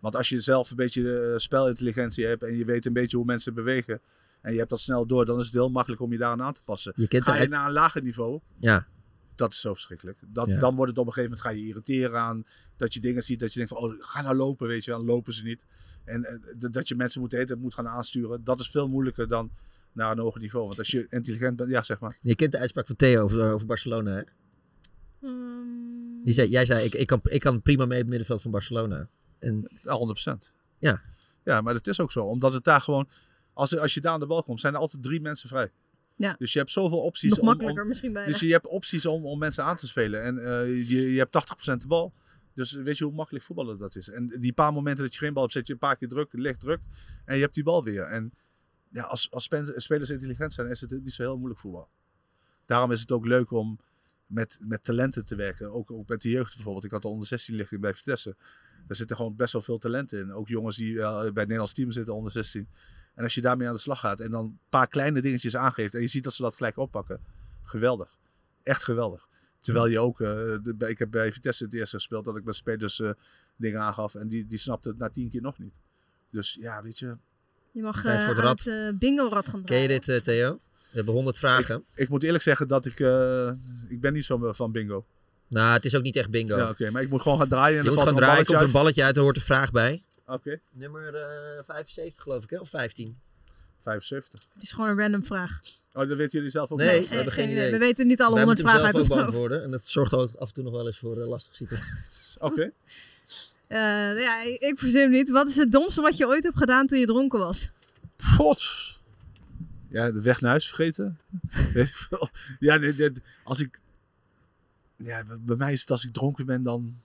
D: Want als je zelf een beetje eh, spelintelligentie hebt en je weet een beetje hoe mensen bewegen... en je hebt dat snel door, dan is het heel makkelijk om je daaraan aan te passen.
A: Je kent
D: Ga
A: de-
D: je naar een lager niveau,
A: Ja.
D: dat is zo verschrikkelijk. Dat,
A: Ja.
D: Dan wordt het op een gegeven moment, ga je irriteren aan dat je dingen ziet, dat je denkt van, oh, ga nou lopen, weet je wel, lopen ze niet. En eh, d- dat je mensen moet eten, moet gaan aansturen, dat is veel moeilijker dan naar een hoger niveau. Want als je intelligent bent, ja, zeg maar.
A: Je kent de uitspraak van Theo over, over Barcelona, hè? Die zei, jij zei, ik, ik, kan, ik kan prima mee op het middenveld van Barcelona. En,
D: Ja, 100%.
A: Ja.
D: Ja, maar dat is ook zo, omdat het daar gewoon, als, als je daar aan de bal komt, zijn er altijd drie mensen vrij.
E: Ja.
D: Dus je hebt zoveel opties.
E: Nog
D: om- om-
E: makkelijker misschien bijna.
D: Dus je hebt opties om, om mensen aan te spelen. En eh, je, je hebt 80% de bal. Dus weet je hoe makkelijk voetballen dat is. En die paar momenten dat je geen bal hebt, zet je een paar keer druk, licht druk. En je hebt die bal weer. En ja, als, als spen- spelers intelligent zijn, is het niet zo heel moeilijk voetbal. Daarom is het ook leuk om met, met talenten te werken. Ook, ook met de jeugd bijvoorbeeld. Ik had de onder 16 lichting bij Vitesse. Daar zitten gewoon best wel veel talenten in. Ook jongens die eh, bij het Nederlands team zitten onder 16. En als je daarmee aan de slag gaat en dan een paar kleine dingetjes aangeeft en je ziet dat ze dat gelijk oppakken. Geweldig. Echt geweldig. Terwijl je ook, eh, de- bij- ik heb bij Vitesse het eerste gespeeld dat ik met spelers eh, dingen aangaf en die, die snapte het na tien keer nog niet. Dus ja, weet je,
E: Je mag
A: Tijd
E: eh,
A: voor het
E: aan
A: rad.
E: het eh, bingo-rad gaan
A: ken je
E: draaien.
A: dit, eh, Theo? We hebben honderd vragen.
D: ik moet eerlijk zeggen dat ik, eh, ik ben niet zo van bingo.
A: Nou, het is ook niet echt bingo.
D: Ja, oké, maar ik moet gewoon gaan draaien. En
A: je
D: dan
A: moet
D: valt
A: gaan
D: er
A: draaien, komt er
D: balletje
A: een balletje uit, er hoort een vraag bij.
D: uit. Oké,
A: Nummer eh, 75 geloof ik, hè? Of 15?
D: 75.
E: Het is gewoon een random vraag.
D: Oh, dat weten jullie zelf ook
A: Nee,
D: niet.
A: eh, we hebben geen idee.
E: We weten niet alle
A: Wij
E: 100
A: moeten hem
E: vragen uit
A: zelf
E: ons
A: ook
E: hoofd.
A: beantwoorden. En dat zorgt ook af en toe nog wel eens voor eh, lastige situaties.
D: Oké.
E: Eh, nou ja, ik, ik verzin hem niet. Wat is het domste wat je ooit hebt gedaan toen je dronken was?
D: God. Ja, de weg naar huis vergeten. Weet ik veel. ja, nee, nee, als ik... Ja, b- bij mij is het als ik dronken ben, dan...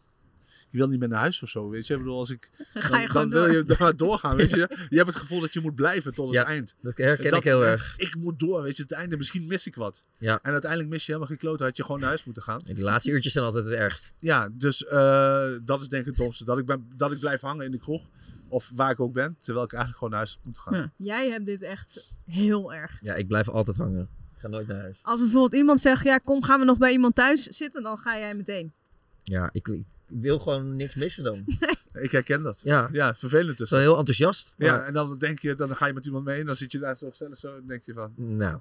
D: Je wil niet meer naar huis of zo, weet je? Ik bedoel, als ik...
E: Dan ga
D: dan-
E: je
D: dan
E: gewoon
D: wil
E: door.
D: je daar doorgaan, weet je? Je hebt het gevoel dat je moet blijven tot het
A: Ja,
D: eind.
A: dat herken ik heel erg.
D: Ik moet door, weet je? Het einde, misschien mis ik wat.
A: Ja.
D: En uiteindelijk mis je helemaal geen klote, had je gewoon naar huis moeten gaan.
A: Die laatste uurtjes zijn altijd het ergst.
D: Ja, dus eh, dat is denk ik het domste. Dat ik, ben, dat ik blijf hangen in de kroeg. Of waar ik ook ben. Terwijl ik eigenlijk gewoon naar huis moet gaan.
E: Ja. Jij hebt dit echt heel erg.
A: Ja, ik blijf altijd hangen. Ik ga nooit naar huis.
E: Als bijvoorbeeld iemand zegt, ja kom gaan we nog bij iemand thuis zitten, dan ga jij meteen.
A: Ja, ik, ik wil gewoon niks missen dan.
D: Ik herken dat.
A: Ja.
D: ja vervelend dus.
A: Wel heel enthousiast. Maar,
D: Ja, en dan denk je, dan ga je met iemand mee en dan zit je daar zo gezellig zo en denk je van,
A: Nou,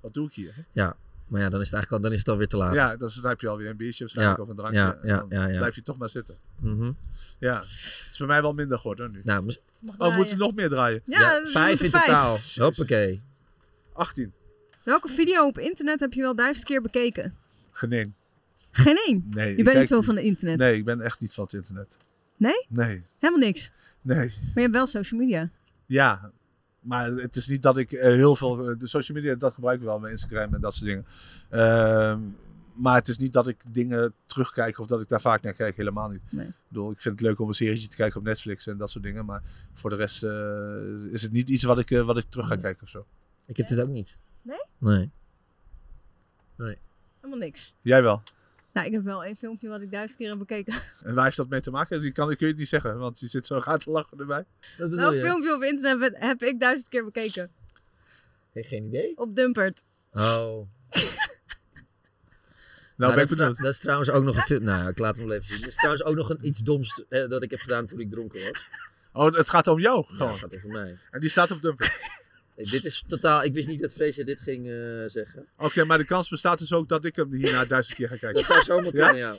D: wat doe ik hier? hè?
A: ja. Maar ja, dan is het eigenlijk al, dan is het alweer te laat.
D: Ja, dat is, dan heb je alweer een biertje waarschijnlijk
A: Ja,
D: of een drankje.
A: ja,
D: en
A: ja,
D: dan
A: ja, ja.
D: blijf je toch maar zitten.
A: Mhm.
D: Ja, het is bij mij wel minder geworden hoor, nu.
A: Nou, mis-
E: Mag
D: oh, we moeten
E: draaien.
D: nog meer draaien.
E: Ja, Ja, we vijf moeten in vijf. totaal.
A: Hoppakee.
D: 18.
E: Welke video op internet heb je wel duizend keer bekeken?
D: Geneen.
E: Geen één.
D: Nee.
E: je
D: ik
E: bent
D: kijk-
E: niet zo van het internet.
D: Nee, ik ben echt niet van het internet.
E: Nee?
D: Nee,
E: Helemaal niks.
D: nee.
E: Maar je hebt wel social media.
D: Ja, maar het is niet dat ik eh, heel veel. eh, de social media, dat gebruik ik wel, mijn Instagram en dat soort dingen. Ehm, maar het is niet dat ik dingen terugkijk of dat ik daar vaak naar kijk, helemaal niet.
E: Nee.
D: Ik, bedoel, ik vind het leuk om een serietje te kijken op Netflix en dat soort dingen. Maar voor de rest eh, is het niet iets wat ik, eh, wat ik terug ga kijken of zo.
A: Ik heb dit ook niet.
E: Nee?
A: Nee.
E: Helemaal niks.
D: Jij wel.
E: Nou, ik heb wel één filmpje wat ik duizend keer heb bekeken.
D: En waar heeft dat mee te maken? Ik kan, ik kun je het niet zeggen, want je zit zo gaat te lachen erbij.
A: Dat
E: Welk filmpje op internet heb- heb ik duizend keer bekeken?
A: geen idee.
E: Op Dumpert.
A: Oh.
D: Nou, ben
A: dat,
D: ik
A: is trouw-
D: benieuwd.
A: dat is trouwens ook nog een film. Nou, ik laat hem wel even zien. Dat is trouwens ook nog een, iets doms eh, dat ik heb gedaan toen ik dronken was.
D: Oh, het gaat om jou
A: Ja,
D: gewoon.
A: dat gaat over mij.
D: En die staat op Dumpert.
A: Nee, dit is totaal. Ik wist niet dat Freesia dit ging eh, zeggen.
D: Oké, maar de kans bestaat dus ook dat ik hem hierna duizend keer ga kijken.
A: Dat zou zomaar kunnen, ja.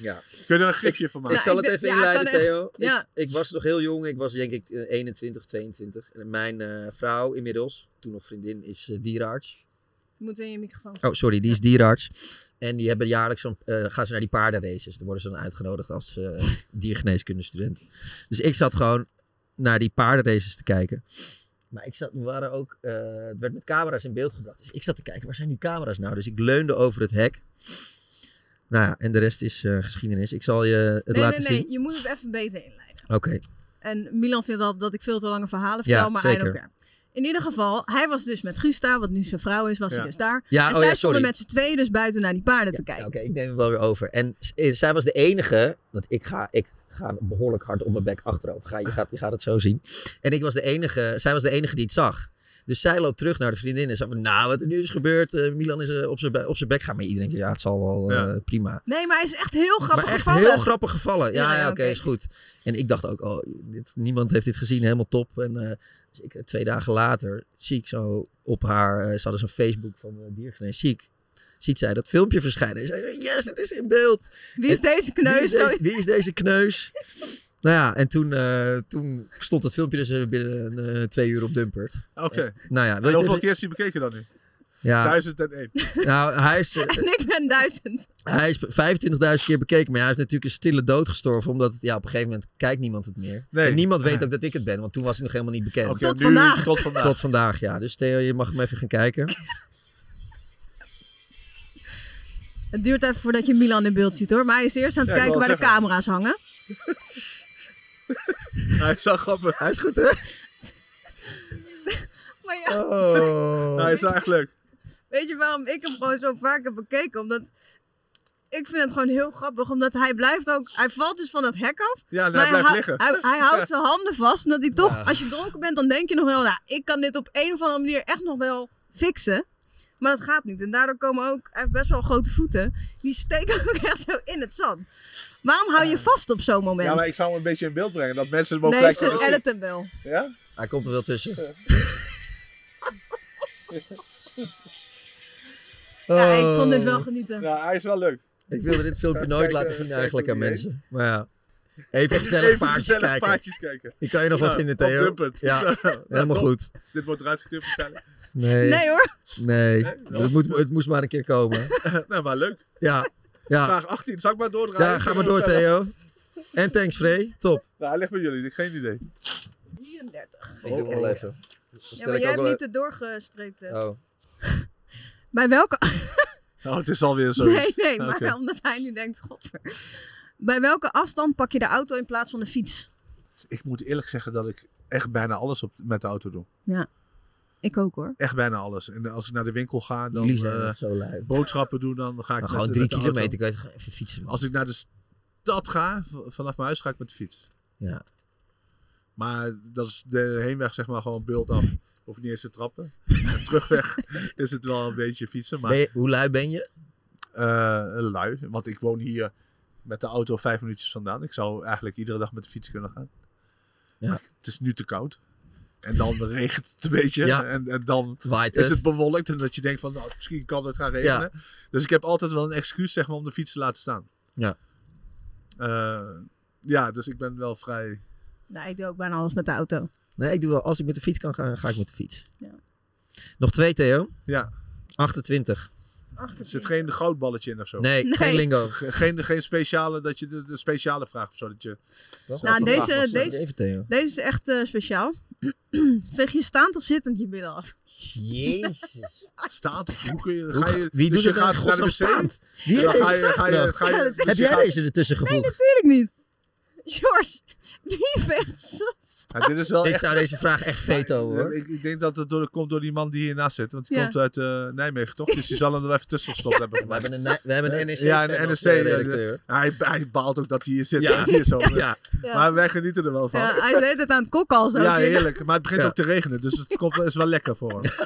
A: Ja.
D: Kun je er een gifje van maken?
A: Ik zal het
D: Nou, Nou, ik
A: even
D: denk- ja,
A: inleiden,
D: kan echt.
A: Theo. Ik-
D: Ja.
A: Ik, was nog heel jong. Ik was denk ik eh, 21, 22. En mijn eh, vrouw inmiddels, toen nog vriendin, is eh, dierenarts.
E: Je moet in je microfoon.
A: Oh, sorry, die is dierenarts. En die hebben jaarlijks zo'n, eh, gaan ze naar die paardenraces. Dan worden ze dan uitgenodigd als eh diergeneeskundestudent. Dus ik zat gewoon naar die paardenraces te kijken. Maar ik zat, we waren ook, eh, het werd met camera's in beeld gebracht. Dus ik zat te kijken, waar zijn die camera's nou? Dus ik leunde over het hek. Nou ja, en de rest is eh, geschiedenis. Ik zal je het
E: nee,
A: laten
E: nee, nee.
A: zien.
E: Je moet het even beter inleiden.
A: Oké.
E: En Milan vindt dat, dat ik veel te lange verhalen vertel,
A: Ja,
E: maar
A: zeker.
E: hij ook weer. In ieder geval, hij was dus met Gusta, wat nu zijn vrouw is, was
A: Ja.
E: hij dus daar.
A: Ja,
E: en
A: oh
E: zij
A: ja,
E: stonden
A: sorry.
E: met z'n tweeën dus buiten naar die paarden te kijken.
A: Oké, ik neem hem wel weer over. En s- eh, zij was de enige, want ik ga, ik ga behoorlijk hard op mijn bek achterover. Ga, je, gaat, je gaat het zo zien. En ik was de enige, zij was de enige die het zag. Dus zij loopt terug naar de vriendin en zegt van, nou, wat er nu is gebeurd. eh, Milan is eh, op zijn be- op zijn bek gaan. Maar iedereen denkt, ja, het zal wel eh, prima.
E: Nee, maar hij is echt heel grappig
A: maar echt
E: gevallen.
A: heel grappig gevallen. Ja, ja, oké, is goed. En ik dacht ook, oh, dit, niemand heeft dit gezien, helemaal top. En eh, dus ik, eh, twee dagen later zie ik zo op haar, eh, ze hadden zo'n Facebook van eh diergenees ziek. Ziet zij dat filmpje verschijnen. En zij zegt, yes, het is in beeld.
E: Wie is
A: En-
E: deze kneus?
A: Wie is deze,
E: Sorry.
A: wie is deze kneus? nou ja, en toen, eh, toen stond dat filmpje dus eh, binnen eh, twee uur op Dumpert.
D: Oké.
A: Eh, nou ja,
D: En
A: weet je-
D: hoeveel keer is die bekeken dan nu?
A: Ja.
D: 1001.
A: Nou, hij is... eh,
E: En ik ben duizend.
A: Hij is 25.000 keer bekeken, maar hij is natuurlijk een stille dood gestorven. Omdat het, ja, op een gegeven moment kijkt niemand het meer.
D: Nee. Ah,
A: En niemand weet ook dat ik het ben, want toen was hij nog helemaal niet bekend.
D: Oké, Tot nu- vandaag. tot vandaag.
A: Tot vandaag, ja. Dus Theo, je mag hem even gaan kijken.
E: Het duurt even voordat je Milan in beeld ziet hoor. Maar hij is eerst aan het
A: Ja, ik
E: kijken
A: wou
E: waar de
A: zeggen.
E: camera's hangen.
D: Hij is wel grappig.
A: Hij is goed, hè?
E: Maar ja,
A: Oh.
D: Hij is wel echt leuk.
E: weet je waarom ik hem gewoon zo vaak heb bekeken? Omdat ik vind het gewoon heel grappig. Omdat hij blijft ook... Hij valt dus van dat hek af.
D: Ja, en
E: maar
D: hij blijft
E: hou-
D: liggen.
E: Hij, hij houdt zijn handen vast. Omdat hij toch,
D: Ja.
E: als je dronken bent, dan denk je nog wel... Nou, ik kan dit op een of andere manier echt nog wel fixen. Maar dat gaat niet. En daardoor komen ook... Hij heeft best wel grote voeten. Die steken ook echt zo in het zand. Waarom hou je vast op zo'n moment?
D: Ja, maar ik zou hem een beetje in beeld brengen. Dat mensen hem ook
E: nee,
D: gelijk
E: ze
D: kunnen zien.
E: editen wel.
D: Ja?
A: Hij komt er wel tussen.
E: Ja, ik vond dit wel genieten.
D: Ja, hij is wel leuk. eh,
A: Ik wilde dit filmpje
D: Even
A: nooit
D: kijken-
A: laten zien eigenlijk aan
D: kijken hoe die
A: mensen. Maar ja. Even gezellig paardjes
D: gezellig
A: kijken.
D: paardjes kijken.
A: Die kan je nog wel
D: Ja,
A: vinden,
D: op
A: Theo.
D: Dumpert.
A: Ja, helemaal
D: top.
A: goed.
D: Dit wordt eruit geknipt waarschijnlijk.
A: Nee.
E: Nee, hoor.
A: Nee.
D: Nee, wel.
A: het, moet, het moest maar een keer komen.
D: nou, maar leuk.
A: Ja. Ja.
D: Vraag 18. Zal ik maar doordraaien?
A: Ja, ga maar door, Theo. En thanks, Frey. Top.
D: Nou, hij ligt bij jullie. Ik heb Geen idee.
E: 33.
A: Ik doe hem wel even.
E: Ja, maar jij hebt niet de doorgestreepte.
A: Oh.
E: Bij welke...
D: Oh, het is alweer zo.
E: Nee, nee,
D: Oké.
E: maar omdat hij nu denkt, godver. Bij welke afstand pak je de auto in plaats van de fiets?
D: Ik moet eerlijk zeggen dat ik echt bijna alles op, met de auto doe.
E: Ja, ik ook hoor.
D: Echt bijna alles. En als ik naar de winkel ga, dan
A: Jullie zijn
D: eh,
A: echt zo lui.
D: boodschappen doen, dan ga ik
A: Maar
D: met-
A: gewoon
D: met
A: drie
D: de auto.
A: kilometer kan je toch even fietsen.
D: Als ik naar de stad ga, v- vanaf mijn huis ga ik met de fiets.
A: Ja.
D: Maar dat is de heenweg zeg maar gewoon bult af. Hoef niet eens te trappen. En Terugweg is het wel een beetje fietsen. Maar, eh,
A: Ben je- hoe lui ben je?
D: lui, want ik woon hier met de auto vijf minuutjes vandaan. Ik zou eigenlijk iedere dag met de fiets kunnen gaan. Maar het is nu te koud. En dan regent het een beetje.
A: Ja.
D: En, en dan
A: Waait
D: is
A: het.
D: het bewolkt. En dat je denkt van, nou, misschien kan het gaan regenen. Dus ik heb altijd wel een excuus zeg maar, om de fiets te laten staan.
A: Ja.
D: Eh, ja, dus ik ben wel vrij...
E: Nee, ik doe ook bijna alles met de auto.
A: Nee, ik doe wel. Als ik met de fiets kan gaan, ga ik met de fiets.
E: Ja.
A: Nog twee, Theo.
D: Ja.
A: 28.
D: Er zit geen goudballetje in of zo.
A: Nee, geen Nee. lingo.
D: Ge- Geen, geen speciale, dat je de, de speciale vraag of zo. Dat je,
E: Nou,
D: Vraag
E: deze,
D: was, eh,
E: deze, deze is echt eh, speciaal. Veeg je staand of zittend je billen af?
A: Jezus.
D: Staat? Hoe kun je...
A: Hoe
D: Ga
A: ga-
D: je
A: wie
D: dus
A: doet het
D: je
A: nou
D: gaat
A: in
D: naar de
A: godsnaam
D: wc?
A: staand? Wie
D: En dan
A: heeft
D: ga
A: deze
D: je- ga je-
A: vraag?
D: ga je-
A: Nou,
D: dus je
A: Heb jij
D: gaat-
A: deze ertussen gevoegd?
E: Natuurlijk niet. George, wie veegt ze
D: Ja,
E: staand?
D: dit is wel
A: Ik
D: echt-
A: zou deze vraag echt veto,
D: Maar,
A: hoor.
D: Ik, ik denk dat het door, komt door die man die hiernaast zit. Want die
A: Ja.
D: komt uit eh, Nijmegen, toch? Dus die zal hem er wel even tussen gestopt hebben.
A: We hebben een, Nij- we hebben een NEC
D: Ja,
A: fan
D: een
A: als,
D: NSC.
A: eh, redacteur.
D: Hij, hij baalt ook dat hij hier zit.
A: Ja.
D: Ja. Hier zo.
A: Ja.
E: Ja.
D: Maar wij genieten er wel van.
E: Ja, hij deed het aan het kokhalzen.
D: Ja, heerlijk. Maar het begint ook te regenen, dus het komt, is wel lekker voor hem.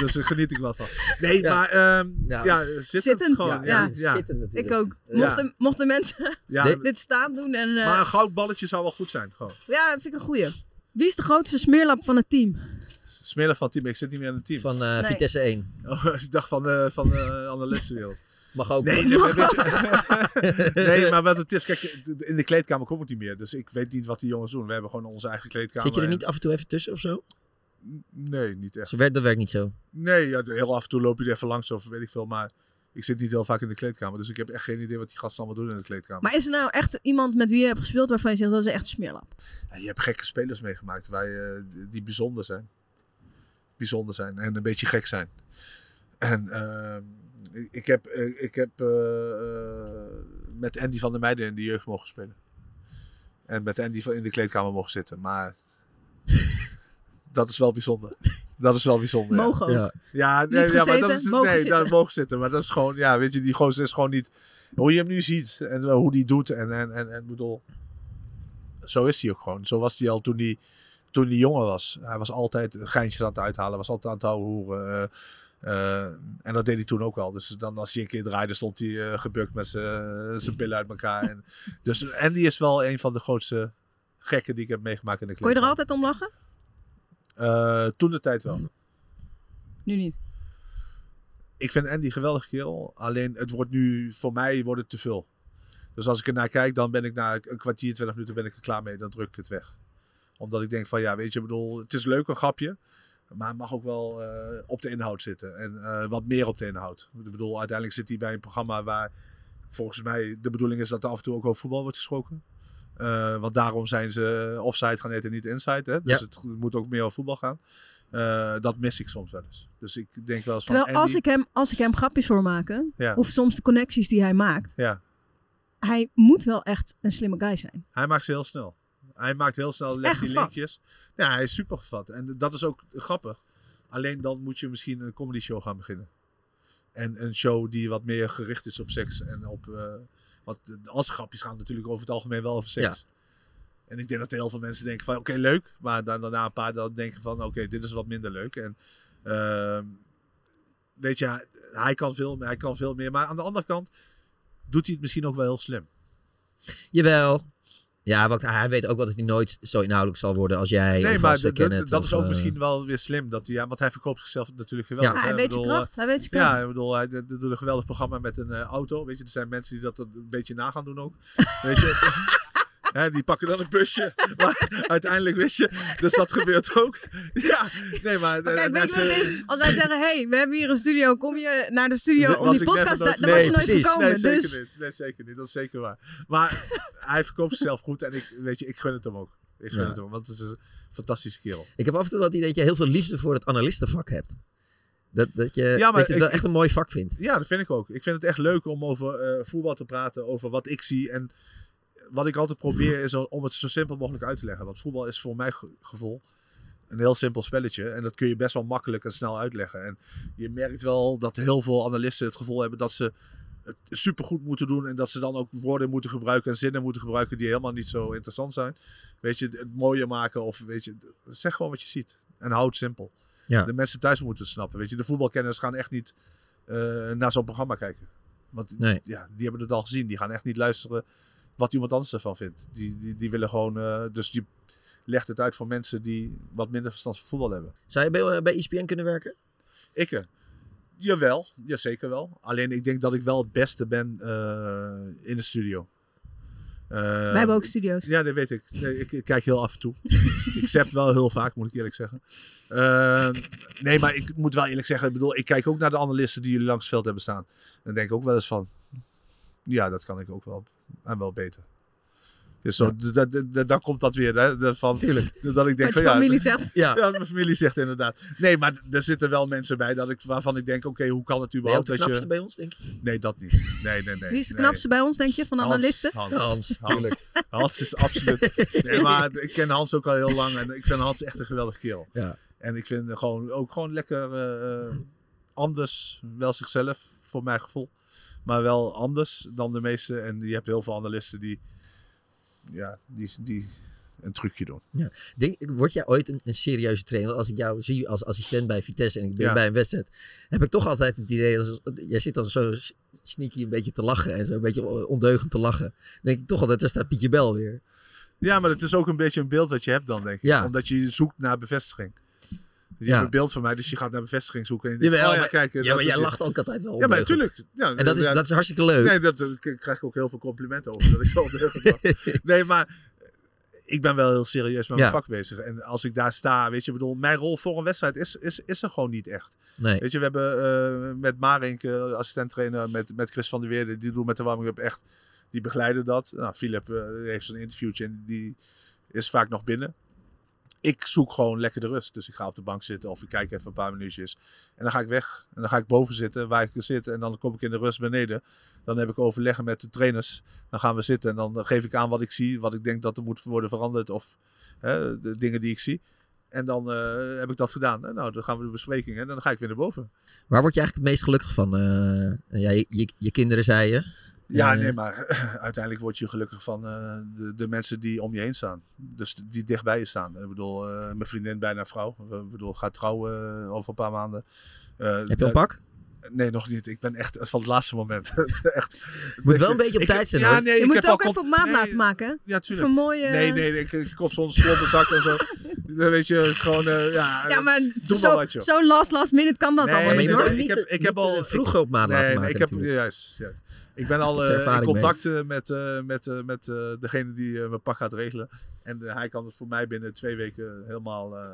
D: dus daar geniet ik wel van. Nee,
E: Ja.
D: maar ehm
E: Ja.
D: ja. zittend,
E: Zittend,
D: gewoon.
E: ja.
D: Ja, ja.
A: Zittend
E: Ik ook.
D: Ja.
E: Mochten, mochten mensen
D: Ja.
E: dit- dit staand doen. En, eh,
D: Maar een goudballetje zou wel goed zijn. Gewoon.
E: Ja, dat vind ik een goeie. Wie is de grootste smeerlap van het team?
D: Smeren van het team. Ik zit niet meer in het team. Van
A: eh,
E: Nee. Vitesse
A: 1.
D: ik dacht van, eh van eh analistenwereld.
A: Mag ook.
D: Nee, nee, maar, weet je- nee, maar wat het is, kijk, in de kleedkamer kom ik niet meer. Dus ik weet niet wat die jongens doen. We hebben gewoon onze eigen kleedkamer.
A: Zit je er
D: en-
A: niet af en toe even tussen of zo?
D: Nee, niet echt.
A: Ze werkt, dat werkt niet zo.
D: Nee, ja, heel af en toe loop je er even langs of weet ik veel. Maar ik zit niet heel vaak in de kleedkamer. Dus ik heb echt geen idee wat die gasten allemaal doen in de kleedkamer.
E: Maar is er nou echt iemand met wie je hebt gespeeld waarvan je zegt dat is echt een smeerlap?
D: Ja, je hebt gekke spelers meegemaakt wij, eh, die bijzonder zijn. Bijzonder zijn en een beetje gek zijn. En ehm, ik- ik heb, eh, ik heb eh, eh, met Andy van der Meijden in de jeugd mogen spelen. En met Andy van- in de kleedkamer mogen zitten. Maar dat is wel bijzonder. Dat is wel bijzonder. ja.
E: Mogen ook.
D: Ja, ja,
E: Niet
D: nee, ja, maar dat
E: gezeten,
D: is,
E: mogen
D: nee,
E: zitten.
D: daar mogen zitten. Maar dat is gewoon, ja, weet je, die gozer is gewoon niet... Hoe je hem nu ziet en eh, hoe die doet en, en, en, en bedoel zo is hij ook gewoon. Zo was hij al toen hij, toen hij jonger was. Hij was altijd geintjes aan het uithalen, was altijd aan het houden hoeren. eh, eh, en dat deed hij toen ook al. Dus dan als hij een keer draaide, stond hij eh, gebukt met zijn zijn billen uit elkaar. En, dus Andy is wel een van de grootste gekken die ik heb meegemaakt in de
E: Kon je
D: club.
E: er altijd om lachen?
D: toen de tijd wel.
E: Nu niet.
D: Ik vind Andy een geweldig kerel. Alleen het wordt nu, voor mij wordt het te veel. Dus als ik ernaar kijk, dan ben ik na een kwartier, twintig minuten ben ik er klaar mee. Dan druk ik het weg. Omdat ik denk van, ja, weet je, ik bedoel, het is leuk een grapje. Maar het mag ook wel eh, op de inhoud zitten. En eh, wat meer op de inhoud. Ik bedoel, uiteindelijk zit hij bij een programma waar volgens mij de bedoeling is dat er af en toe ook over voetbal wordt gesproken. Eh, want daarom zijn ze offside gaan eten, niet inside. Hè? Dus
A: Ja.
D: het, moet ook meer over voetbal gaan. Eh, dat mis ik soms wel eens. Dus ik denk wel eens van.
E: Terwijl als
D: Andy-
E: ik, hem, als ik hem grapjes hoor maken,
D: Ja.
E: of soms de connecties die hij maakt,
D: Ja,
E: hij moet wel echt een slimme guy zijn.
D: Hij maakt ze heel snel. Hij maakt heel snel
E: echt
D: legt die
E: gevat.
D: linkjes. Ja, hij is super gevat. En dat is ook grappig. Alleen dan moet je misschien een comedy show gaan beginnen. En een show die wat meer gericht is op seks en op. eh want als grapjes gaan natuurlijk over het algemeen wel over seks. En ik denk dat heel veel mensen denken van oké, leuk. Maar dan, daarna een paar dan denken van oké, dit is wat minder leuk. En ehm, weet je, hij- hij kan, veel, hij kan veel meer. Maar aan de andere kant doet hij het misschien ook wel heel slim.
A: Jawel. Ja, want hij weet ook wel dat hij nooit zo inhoudelijk zal worden als jij.
D: Nee,
A: of
D: maar
A: als, eh,
D: dat- dat-
A: Kenneth
D: dat
A: of,
D: is ook
A: eh,
D: misschien wel weer slim. Dat hij, ja, want hij verkoopt zichzelf natuurlijk geweldig.
E: Ja, hij
D: hè.
E: weet
D: Ik
E: zijn
D: bedoel,
E: kracht,
D: eh,
E: hij weet zijn kracht.
D: Ja, ik bedoel, hij d- doet een geweldig programma met een eh, auto. Weet je, er zijn mensen die dat een beetje na gaan doen ook. Weet je. Hè, die pakken dan een busje. Maar uiteindelijk wist je. Dus dat gebeurt ook. Ja, nee, maar. eh,
E: Kijk,
D: hij
E: weet je wat het
D: heeft, eh,
E: is? Als wij zeggen, hé, hey, we hebben hier een studio, kom je naar de studio
D: Nee,
E: om
D: was
E: die
D: ik never
E: podcast,
D: nooit-
E: daar was je nooit
D: precies.
E: gekomen.
D: Nee, zeker
E: dus
D: niet. Nee, zeker niet. Dat is zeker waar. Maar hij verkoopt zichzelf goed en ik, weet je, ik gun het hem ook. Ik gun
A: Ja.
D: het hem, want het is een fantastische kerel.
A: Ik heb af en toe wel het idee dat je heel veel liefde voor het analistenvak hebt. Dat, dat je,
D: Ja, maar
A: dat je het wel
D: ik-
A: echt een mooi vak vindt.
D: Ja, dat vind ik ook. Ik vind het echt leuk om over eh, voetbal te praten, over wat ik zie. En wat ik altijd probeer is om het zo simpel mogelijk uit te leggen. Want voetbal is voor mijn ge- gevoel een heel simpel spelletje. En dat kun je best wel makkelijk en snel uitleggen. En je merkt wel dat heel veel analisten het gevoel hebben dat ze het supergoed moeten doen. En dat ze dan ook woorden moeten gebruiken en zinnen moeten gebruiken die helemaal niet zo interessant zijn. Weet je, het mooier maken of weet je, zeg gewoon wat je ziet. En houd het simpel.
A: Ja.
D: De mensen thuis moeten het snappen. Weet je, de voetbalkenners gaan echt niet eh, naar zo'n programma kijken. Want
A: Nee.
D: ja, die hebben het al gezien. Die gaan echt niet luisteren wat iemand anders ervan vindt. Die, die, die willen gewoon. eh, dus die legt het uit voor mensen die wat minder verstand van voetbal hebben.
A: Zou je bij, eh, bij ESPN kunnen werken?
D: Ik, eh, jawel, ja, zeker wel. Alleen ik denk dat ik wel het beste ben eh, in de studio. Wij
E: hebben ook studio's.
D: Ja, dat weet ik. Nee, ik, ik kijk heel af en toe. ik zap wel heel vaak, moet ik eerlijk zeggen. Eh, nee, maar ik moet wel eerlijk zeggen. Ik bedoel, ik kijk ook naar de analisten die jullie langs het veld hebben staan. En denk ook wel eens van, ja, dat kan ik ook wel. En wel beter. Dus zo, dat- dat- dat- dan komt dat weer. Hè, dat van, Dat ik denk
E: Wat je
D: van,
E: familie
D: ja,
E: zegt.
D: Ja. wat mijn familie zegt inderdaad. Nee, maar d- er zitten wel mensen bij dat ik, waarvan ik denk, oké, hoe kan het
A: Ben je ook
D: überhaupt
A: de
D: dat je...
A: knapste bij ons, denk ik?
D: Nee, dat niet. Nee, nee, nee.
E: Wie is de
D: nee.
E: knapste bij ons, denk je, van nou, de
D: Hans,
E: analisten?
D: Hans,
A: Hans,
D: Hans, Hans,
A: tuurlijk.
D: is absoluut. Nee, maar ik ken Hans ook al heel lang en ik vind Hans echt een geweldige kerel.
A: Ja.
D: En ik vind hem gewoon ook gewoon lekker eh, anders, wel zichzelf voor mijn gevoel, maar wel anders dan de meeste. En je hebt heel veel analisten die, ja, die, die een trucje doen.
A: Ja. Denk, word jij ooit een, een serieuze trainer? Want Als ik jou zie als assistent bij Vitesse en ik ben
D: Ja.
A: bij een wedstrijd, heb ik toch altijd het idee, als, jij zit dan zo s- sneaky een beetje te lachen en zo een beetje on- ondeugend te lachen. Dan denk ik toch altijd, daar staat Pietje Bel weer.
D: Oh Ja, maar het is ook een beetje een beeld dat je hebt dan, denk ik.
A: Ja.
D: Omdat je zoekt naar bevestiging. Dus Je
A: Ja.
D: hebt een beeld van mij, dus je gaat naar bevestiging zoeken. En je denkt,
A: Jawel,
D: oh ja,
A: maar-
D: kijk,
A: ja,
D: dat
A: maar
D: is
A: jij
D: het.
A: lacht ook altijd wel
D: Ja, maar
A: ondeugend.
D: natuurlijk. Ja,
A: En dat is-
D: ja,
A: dat is hartstikke leuk.
D: Nee, dat, dat- ik krijg ik ook heel veel complimenten over. Dat ik zo ondeugend was. Nee, maar ik ben wel heel serieus met mijn
A: Ja.
D: vak bezig. En als ik daar sta, weet je, ik bedoel, mijn rol voor een wedstrijd is, is, is er gewoon niet echt.
A: Nee.
D: Weet je, we hebben eh, met Marink, eh assistent trainer, met, met Chris van der Weerde, die doen met de warming-up echt, die begeleiden dat. Nou, Philip eh, heeft zijn interviewtje en die is vaak nog binnen. Ik zoek gewoon lekker de rust. Dus ik ga op de bank zitten of ik kijk even een paar minuutjes. En dan ga ik weg. En dan ga ik boven zitten waar ik zit. En dan kom ik in de rust beneden. Dan heb ik overleggen met de trainers. Dan gaan we zitten en dan eh, geef ik aan wat ik zie. Wat ik denk dat er moet worden veranderd. Of hè, de dingen die ik zie. En dan eh, heb ik dat gedaan. En nou, dan gaan we de bespreking. En dan ga ik weer naar boven.
A: Waar word je eigenlijk het meest gelukkig van? Eh, ja, je, je, je kinderen, zei je.
D: Ja,
A: Eh,
D: nee, maar uiteindelijk word je gelukkig van eh, de, de mensen die om je heen staan. Dus die dichtbij je staan. Ik bedoel, eh, mijn vriendin bijna vrouw. Ik bedoel, gaat trouwen eh, over een paar maanden. Eh,
A: Heb je
D: dat-
A: een pak?
D: Nee, nog niet. Ik ben echt van het laatste moment. echt.
A: Moet wel een beetje op
D: Ik-
A: tijd zijn,
D: ja,
A: hoor.
D: nee,
E: je
D: ik
E: moet
D: heb
E: het ook
D: al
E: even op
D: comp-
E: maat
D: nee,
E: laten maken.
D: Ja, tuurlijk.
E: Even mooie...
D: Nee, nee, ik, ik kop zo'n slopperzak en zo. Dan weet je, gewoon, eh, ja,
E: Ja, maar
D: doe
E: zo,
D: maar wat, joh.
E: zo last, last minute kan dat allemaal niet, hoor.
D: Ik heb, ik heb al
A: vroeg eh, op maat laten maken
D: Ik heb,
A: natuurlijk.
D: juist, ja. Ik ben al
A: Met
D: eh, in
A: ervaring
D: contact eh, met, eh, met, eh, met eh, degene die eh, mijn pak gaat regelen. En eh, hij kan het voor mij binnen twee weken helemaal eh,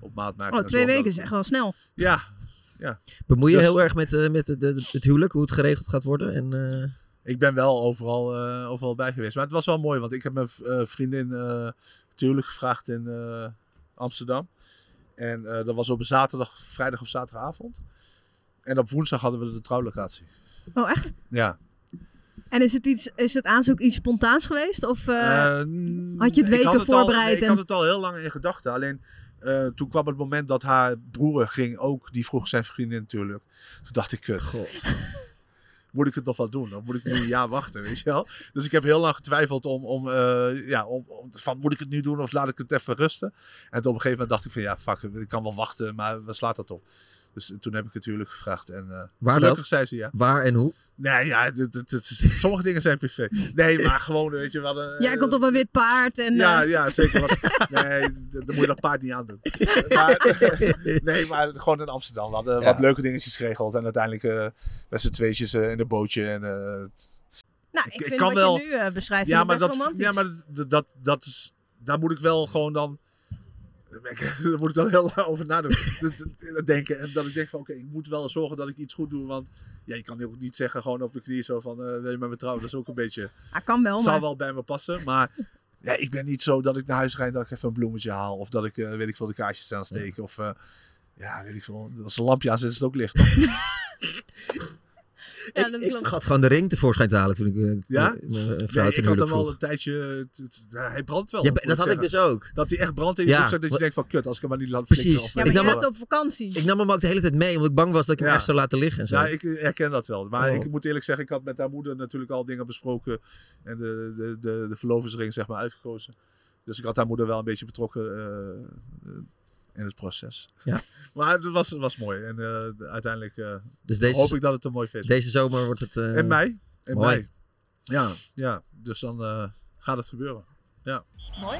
D: op maat maken.
E: Oh,
D: En zorgen
E: twee
D: dat
E: weken is
D: het-
E: echt wel snel.
D: Ja, ja.
A: Bemoei je
D: Dus-
A: heel erg met, eh, met de, de- het huwelijk, hoe het geregeld gaat worden? En, eh,
D: Ik ben wel overal, eh, overal bij geweest. Maar het was wel mooi, want ik heb mijn v- eh, vriendin eh natuurlijk gevraagd in eh, Amsterdam. En eh, dat was op een zaterdag, vrijdag of zaterdagavond. En op woensdag hadden we de trouwlocatie.
E: Oh, echt?
D: Ja.
E: En is het, iets, is het aanzoek iets spontaans geweest? Of eh,
D: Eh,
E: had je
D: Ik had
E: het weken
D: al-
E: voorbereid?
D: nee, ik
E: en-
D: had het al heel lang in gedachten. Alleen eh, toen kwam het moment dat haar broer ging ook. Die vroeg zijn vriendin natuurlijk. Toen dacht ik, kut. Moet ik het nog wel doen? Dan moet ik nu een jaar wachten, weet je wel? Dus ik heb heel lang getwijfeld om, om, eh, ja, om, om- van moet ik het nu doen of laat ik het even rusten? En toen op een gegeven moment dacht ik van ja, fuck, ik kan wel wachten, maar waar slaat dat op? Dus toen heb ik het huwelijk gevraagd. En, eh,
A: Waar
D: gelukkig
A: dan?
D: zei ze ja.
A: Waar en hoe?
D: Nee, ja, dit- dit- dit- sommige dingen zijn privé. Nee, maar gewoon, weet je wel. eh,
E: Jij komt op een wit paard en...
D: ja,
E: eh,
D: ja, zeker. Want, nee, d- dan moet je dat paard niet aandoen. Maar, nee, maar gewoon in Amsterdam. We hadden
P: Ja.
D: wat leuke dingetjes geregeld. En uiteindelijk eh met z'n tweetjes eh, in een bootje. En, eh,
E: Nou,
D: ik
E: ik vind
D: kan
E: wat
D: wel-
E: je nu eh, beschrijft
D: ja,
E: vind
D: maar
E: ik best
D: dat,
E: romantisch.
D: ja, maar dat, dat, dat is, daar moet ik wel gewoon dan... Daar moet ik dan heel lang over nadenken. Dat- dat- denken. En dat ik denk van, oké, ik moet wel zorgen dat ik iets goed doe. Want ja, je kan ook niet zeggen gewoon op de knie zo van, eh, wil je met me trouwen? Dat is ook een beetje...
A: Oh,
E: Ah, kan wel,
D: Zou
E: maar-
D: wel bij me passen, maar Nee, ik ben niet zo dat ik naar huis rijd dat ik even een bloemetje haal. Of dat ik, eh, weet ik veel, de kaarsjes aansteek. Of eh, ja, weet ik veel. Als een lampje aan zit, is het ook licht.
E: Ja, dat klopt.
A: Ik had gewoon de ring tevoorschijn te halen toen ik eh, t-
D: Ja?
A: eh, mijn vrouw
D: Nee,
A: ten
D: ik had
A: huwelijk
D: hem
A: vroeg.
D: al een tijdje... t- t- ja, hij brandt wel.
A: Ja,
D: moet
A: dat had ik
D: zeggen.
A: dus ook.
D: Dat hij echt brandt in je
A: Ja,
D: broekzak, Dat je
A: wat-
D: denkt van, kut, als ik hem maar niet laat flikkeren.
A: Precies.
D: Of,
E: maar jij hebt op vakantie.
A: Ik nam hem ook de hele tijd mee, omdat ik bang was dat ik hem
D: Ja.
A: echt zou laten liggen en zo.
D: Ja, ik eh, herken dat wel. Maar
A: Oh.
D: ik moet eerlijk zeggen, ik had met haar moeder natuurlijk al dingen besproken. En de, de, de, de verlovingsring zeg maar uitgekozen. Dus ik had haar moeder wel een beetje betrokken eh, eh, in het proces.
A: Ja.
D: maar het was, het was mooi. En eh, uiteindelijk eh,
A: Dus deze-
D: hoop ik dat het een mooi feest
A: Deze zomer wordt het... eh,
D: In mei. In
A: mooi.
D: mei. Ja, ja, dus dan eh, gaat het gebeuren. Ja.
E: Mooi.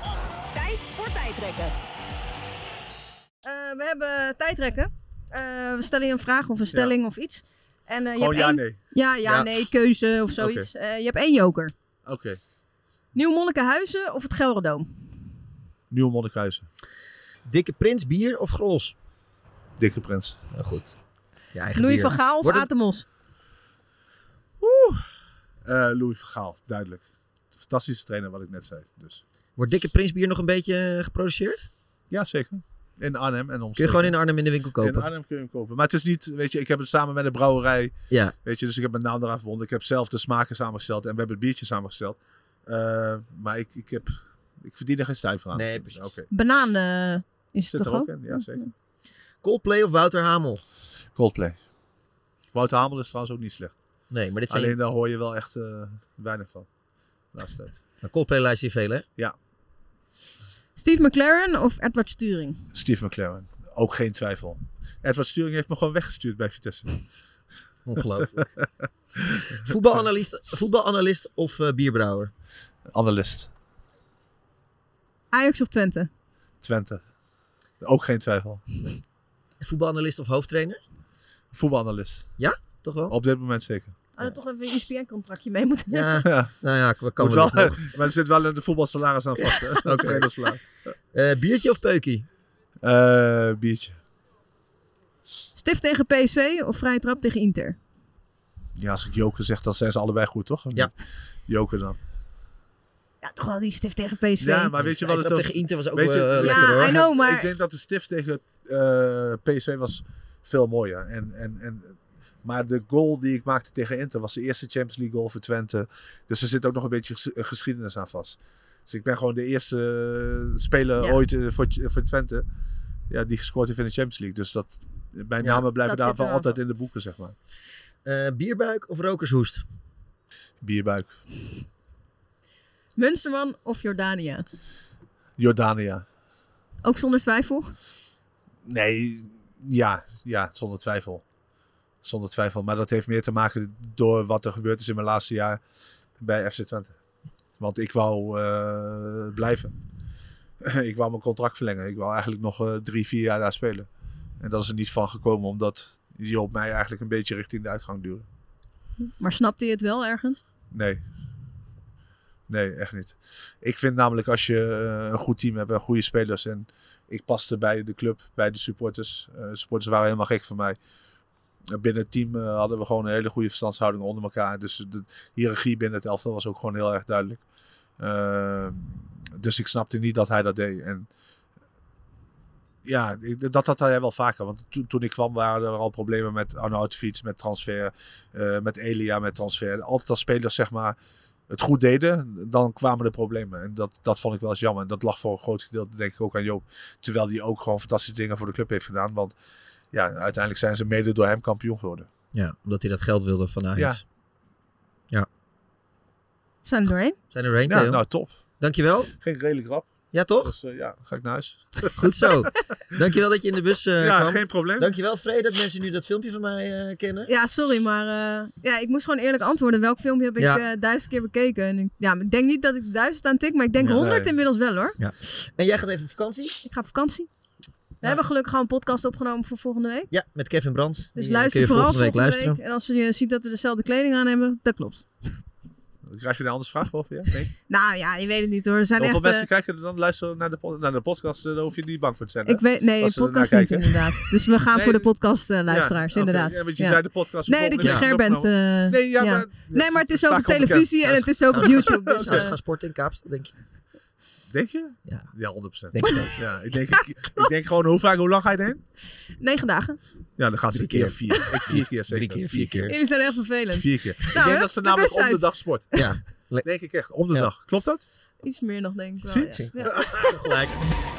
E: Tijd voor tijdrekken. Eh, we hebben tijdrekken. Eh, we stellen je een vraag of een stelling of iets. En, eh, je
D: Gewoon
E: hebt
D: Oh, ja,
E: één...
D: nee.
E: Ja, ja,
D: Ja.
E: nee, keuze of zoiets. Eh, je hebt één joker.
D: Oké,
E: Nieuw Monnikenhuizen of het Gelderdoom?
D: Nieuw Monnikhuizen.
A: Dikke prins, bier of grols?
D: Dikke prins.
A: Nou goed. Ja, eigen
E: Louis
A: bier.
E: van Gaal of
A: Wordt het-
E: Atemos?
D: Eh Louis van Gaal, duidelijk. Fantastische trainer, wat ik net zei. Dus.
A: Wordt dikke prins bier nog een beetje eh, geproduceerd?
D: Ja, zeker. In Arnhem en omstreken.
A: Kun je gewoon in Arnhem in de winkel kopen?
D: In Arnhem kun je hem kopen. Maar het is niet, weet je, ik heb het samen met een brouwerij.
A: Ja.
D: Weet je, dus ik heb mijn naam eraan verbonden. Ik heb zelf de smaken samengesteld en we hebben het biertje samengesteld. Eh, maar ik, ik, heb, ik verdien er geen stuiver aan.
A: Nee, precies.
D: Oké.
E: Banaan eh, is
D: Zit
E: het
D: er
E: toch
D: ook in,
E: ook?
D: ja, zeker.
A: Coldplay of Wouter Hamel?
D: Coldplay. Wouter Hamel is trouwens ook niet slecht.
A: Nee, maar dit zijn...
D: Alleen daar hoor je wel echt eh, weinig van. de Laatste tijd.
A: Nou, Coldplay luister je veel, hè?
D: Ja.
E: Steve McLaren of Edward Sturing?
D: Steve McLaren. Ook geen twijfel. Edward Sturing heeft me gewoon weggestuurd bij Vitesse.
A: Ongelooflijk. Voetbalanalist, voetbalanalist of eh, bierbrouwer?
D: Analist.
E: Ajax of Twente?
D: Twente. Ook geen twijfel.
A: Voetbalanalist of hoofdtrainer?
D: Voetbalanalist.
A: Ja? Toch wel?
D: Op dit moment zeker.
E: Hadden toch even een E ESPN-contractje mee moeten
A: Ja,
E: hebben.
A: nou ja, we
D: Moet
A: komen
D: wel,
A: er nog.
D: maar er zit wel een voetbalsalaris aan vast. hè? Een
A: Oké.
D: trainersalaris.
A: Eh, biertje of peukie?
D: Eh, biertje.
E: Stift tegen PSV of vrije trap tegen Inter?
D: Ja, als ik Joker zeg, dan zijn ze allebei goed, toch? Ja. Joker dan.
E: Ja, toch wel die stift tegen PSV.
D: Ja, maar weet je wat het
A: tegen Inter was ook
D: weet je-
A: wel, eh,
E: Ja, lekker, hoor. I know, maar-
D: Ik denk dat de stift tegen eh PSV was veel mooier. En, en, en, maar de goal die ik maakte tegen Inter was de eerste Champions League goal voor Twente. Dus er zit ook nog een beetje ges- eh, geschiedenis aan vast. Dus ik ben gewoon de eerste eh, speler
E: Ja.
D: ooit eh, voor, voor Twente ja, die gescoord heeft in de Champions League. Dus dat, mijn
A: Ja,
D: namen blijven
A: dat zit
D: daarvan
A: eraan
D: altijd in de boeken, zeg maar.
A: Eh, bierbuik of rokershoest?
D: Bierbuik.
E: Munsterman of Jordania?
D: Jordania.
E: Ook zonder twijfel.
D: Nee, ja, ja, zonder twijfel. Zonder twijfel. Maar dat heeft meer te maken door wat er gebeurd is in mijn laatste jaar bij FC Twente. Want ik wou eh, blijven. ik wou mijn contract verlengen. Ik wou eigenlijk nog eh, drie, vier jaar daar spelen. En dat is er niet van gekomen, omdat die op mij eigenlijk een beetje richting de uitgang duwde.
E: Maar snapte je het wel ergens?
D: Nee. Nee, echt niet. Ik vind namelijk als je eh, een goed team hebt en goede spelers. En ik paste bij de club, bij de supporters. Eh, de supporters waren helemaal gek van mij. Eh, Binnen het team eh, hadden we gewoon een hele goede verstandshouding onder elkaar. Dus de hiërarchie binnen het elftal was ook gewoon heel erg duidelijk. Eh, dus ik snapte niet dat hij dat deed. En ja, ik- dat had hij wel vaker. Want to- toen ik kwam waren er al problemen met Arnautovic, met transfer, eh, met Elia, met transfer. Altijd als spelers zeg maar het goed deden, dan kwamen de problemen. En dat, dat vond ik wel eens jammer. En dat lag voor een groot gedeelte denk ik ook aan Joop. Terwijl hij ook gewoon fantastische dingen voor de club heeft gedaan. Want ja, uiteindelijk zijn ze mede door hem kampioen geworden.
A: Ja, omdat hij dat geld wilde van Ajax.
E: Zijn we doorheen?
A: Zijn er doorheen,
D: Ja,
A: Theo?
D: nou top.
A: Dankjewel.
D: Geen redelijk rap.
A: Ja, toch?
D: Dus eh, ja, ga ik naar huis.
A: Goed zo. Dankjewel dat je in de bus eh
D: Ja,
A: kwam.
D: geen probleem.
A: Dankjewel, Vrede, dat mensen nu dat filmpje van mij eh, kennen.
E: Ja, sorry, maar eh, ja, ik moest gewoon eerlijk antwoorden. Welk filmpje heb ik
A: Ja.
E: eh, duizend keer bekeken? En ik, ja, maar ik denk niet dat ik duizend aan tik, maar ik denk
A: Ja,
E: honderd
A: nee.
E: inmiddels wel hoor.
A: Ja. En jij gaat even op vakantie?
E: Ik ga op vakantie. We hebben gelukkig gewoon een podcast opgenomen voor volgende week.
A: Ja, met Kevin Brandt.
E: Dus
A: Die, eh,
E: luister
A: kun je
E: vooral
A: volgende week luisteren.
E: En als je ziet dat we dezelfde kleding aan hebben, dat klopt.
D: Krijg je een anders vraag over? Ja? Nee.
E: Nou ja, je weet het niet hoor. Er zijn
D: Hoeveel
E: echt,
D: mensen
E: eh,
D: kijken er dan luisteren naar de, pod- naar de podcast? eh, Daar hoef je niet bang voor te zijn. hè?
E: ik weet, nee,
D: Als
E: de
D: ze ernaar
E: podcast niet
D: kijken.
E: inderdaad. Dus we gaan
D: Nee,
E: voor de podcast eh,
D: Ja,
E: luisteraars,
D: oké.
E: inderdaad.
D: Ja, want je zei de podcast
E: Nee, dat
D: volgende
E: je
D: week
E: scher
D: is
E: bent.
D: opgenomen.
E: eh,
D: Nee, ja,
E: ja.
D: maar-
E: nee, maar het is ook
D: Vaak
E: op
D: onbekend.
E: televisie en het is ook op YouTube. Dus,
A: Zou ze
E: eh,
A: gaan sporten in Kaapstad, denk je?
D: Denk je?
E: Ja.
D: Ja, 100%.
E: Denk ik ook.
D: ja, ik, denk, ik, ik denk gewoon, hoe vaak, hoe lang ga je erheen?
E: Negen dagen.
D: Ja, dan gaat drie keer. Vier, Ik- vier keer zeker. Drie keer, vier
E: Jullie zijn heel vervelend.
D: Vier keer. ik
E: Nou, hè,
D: denk dat ze
E: de
D: namelijk
E: bus
D: om de
E: uit.
D: dag sport. Ja. Denk ik echt, om de dag. Klopt dat?
E: Iets meer nog, denk ik wel.
D: Zie?
E: Oh, ja. Ja.
D: Gelijk.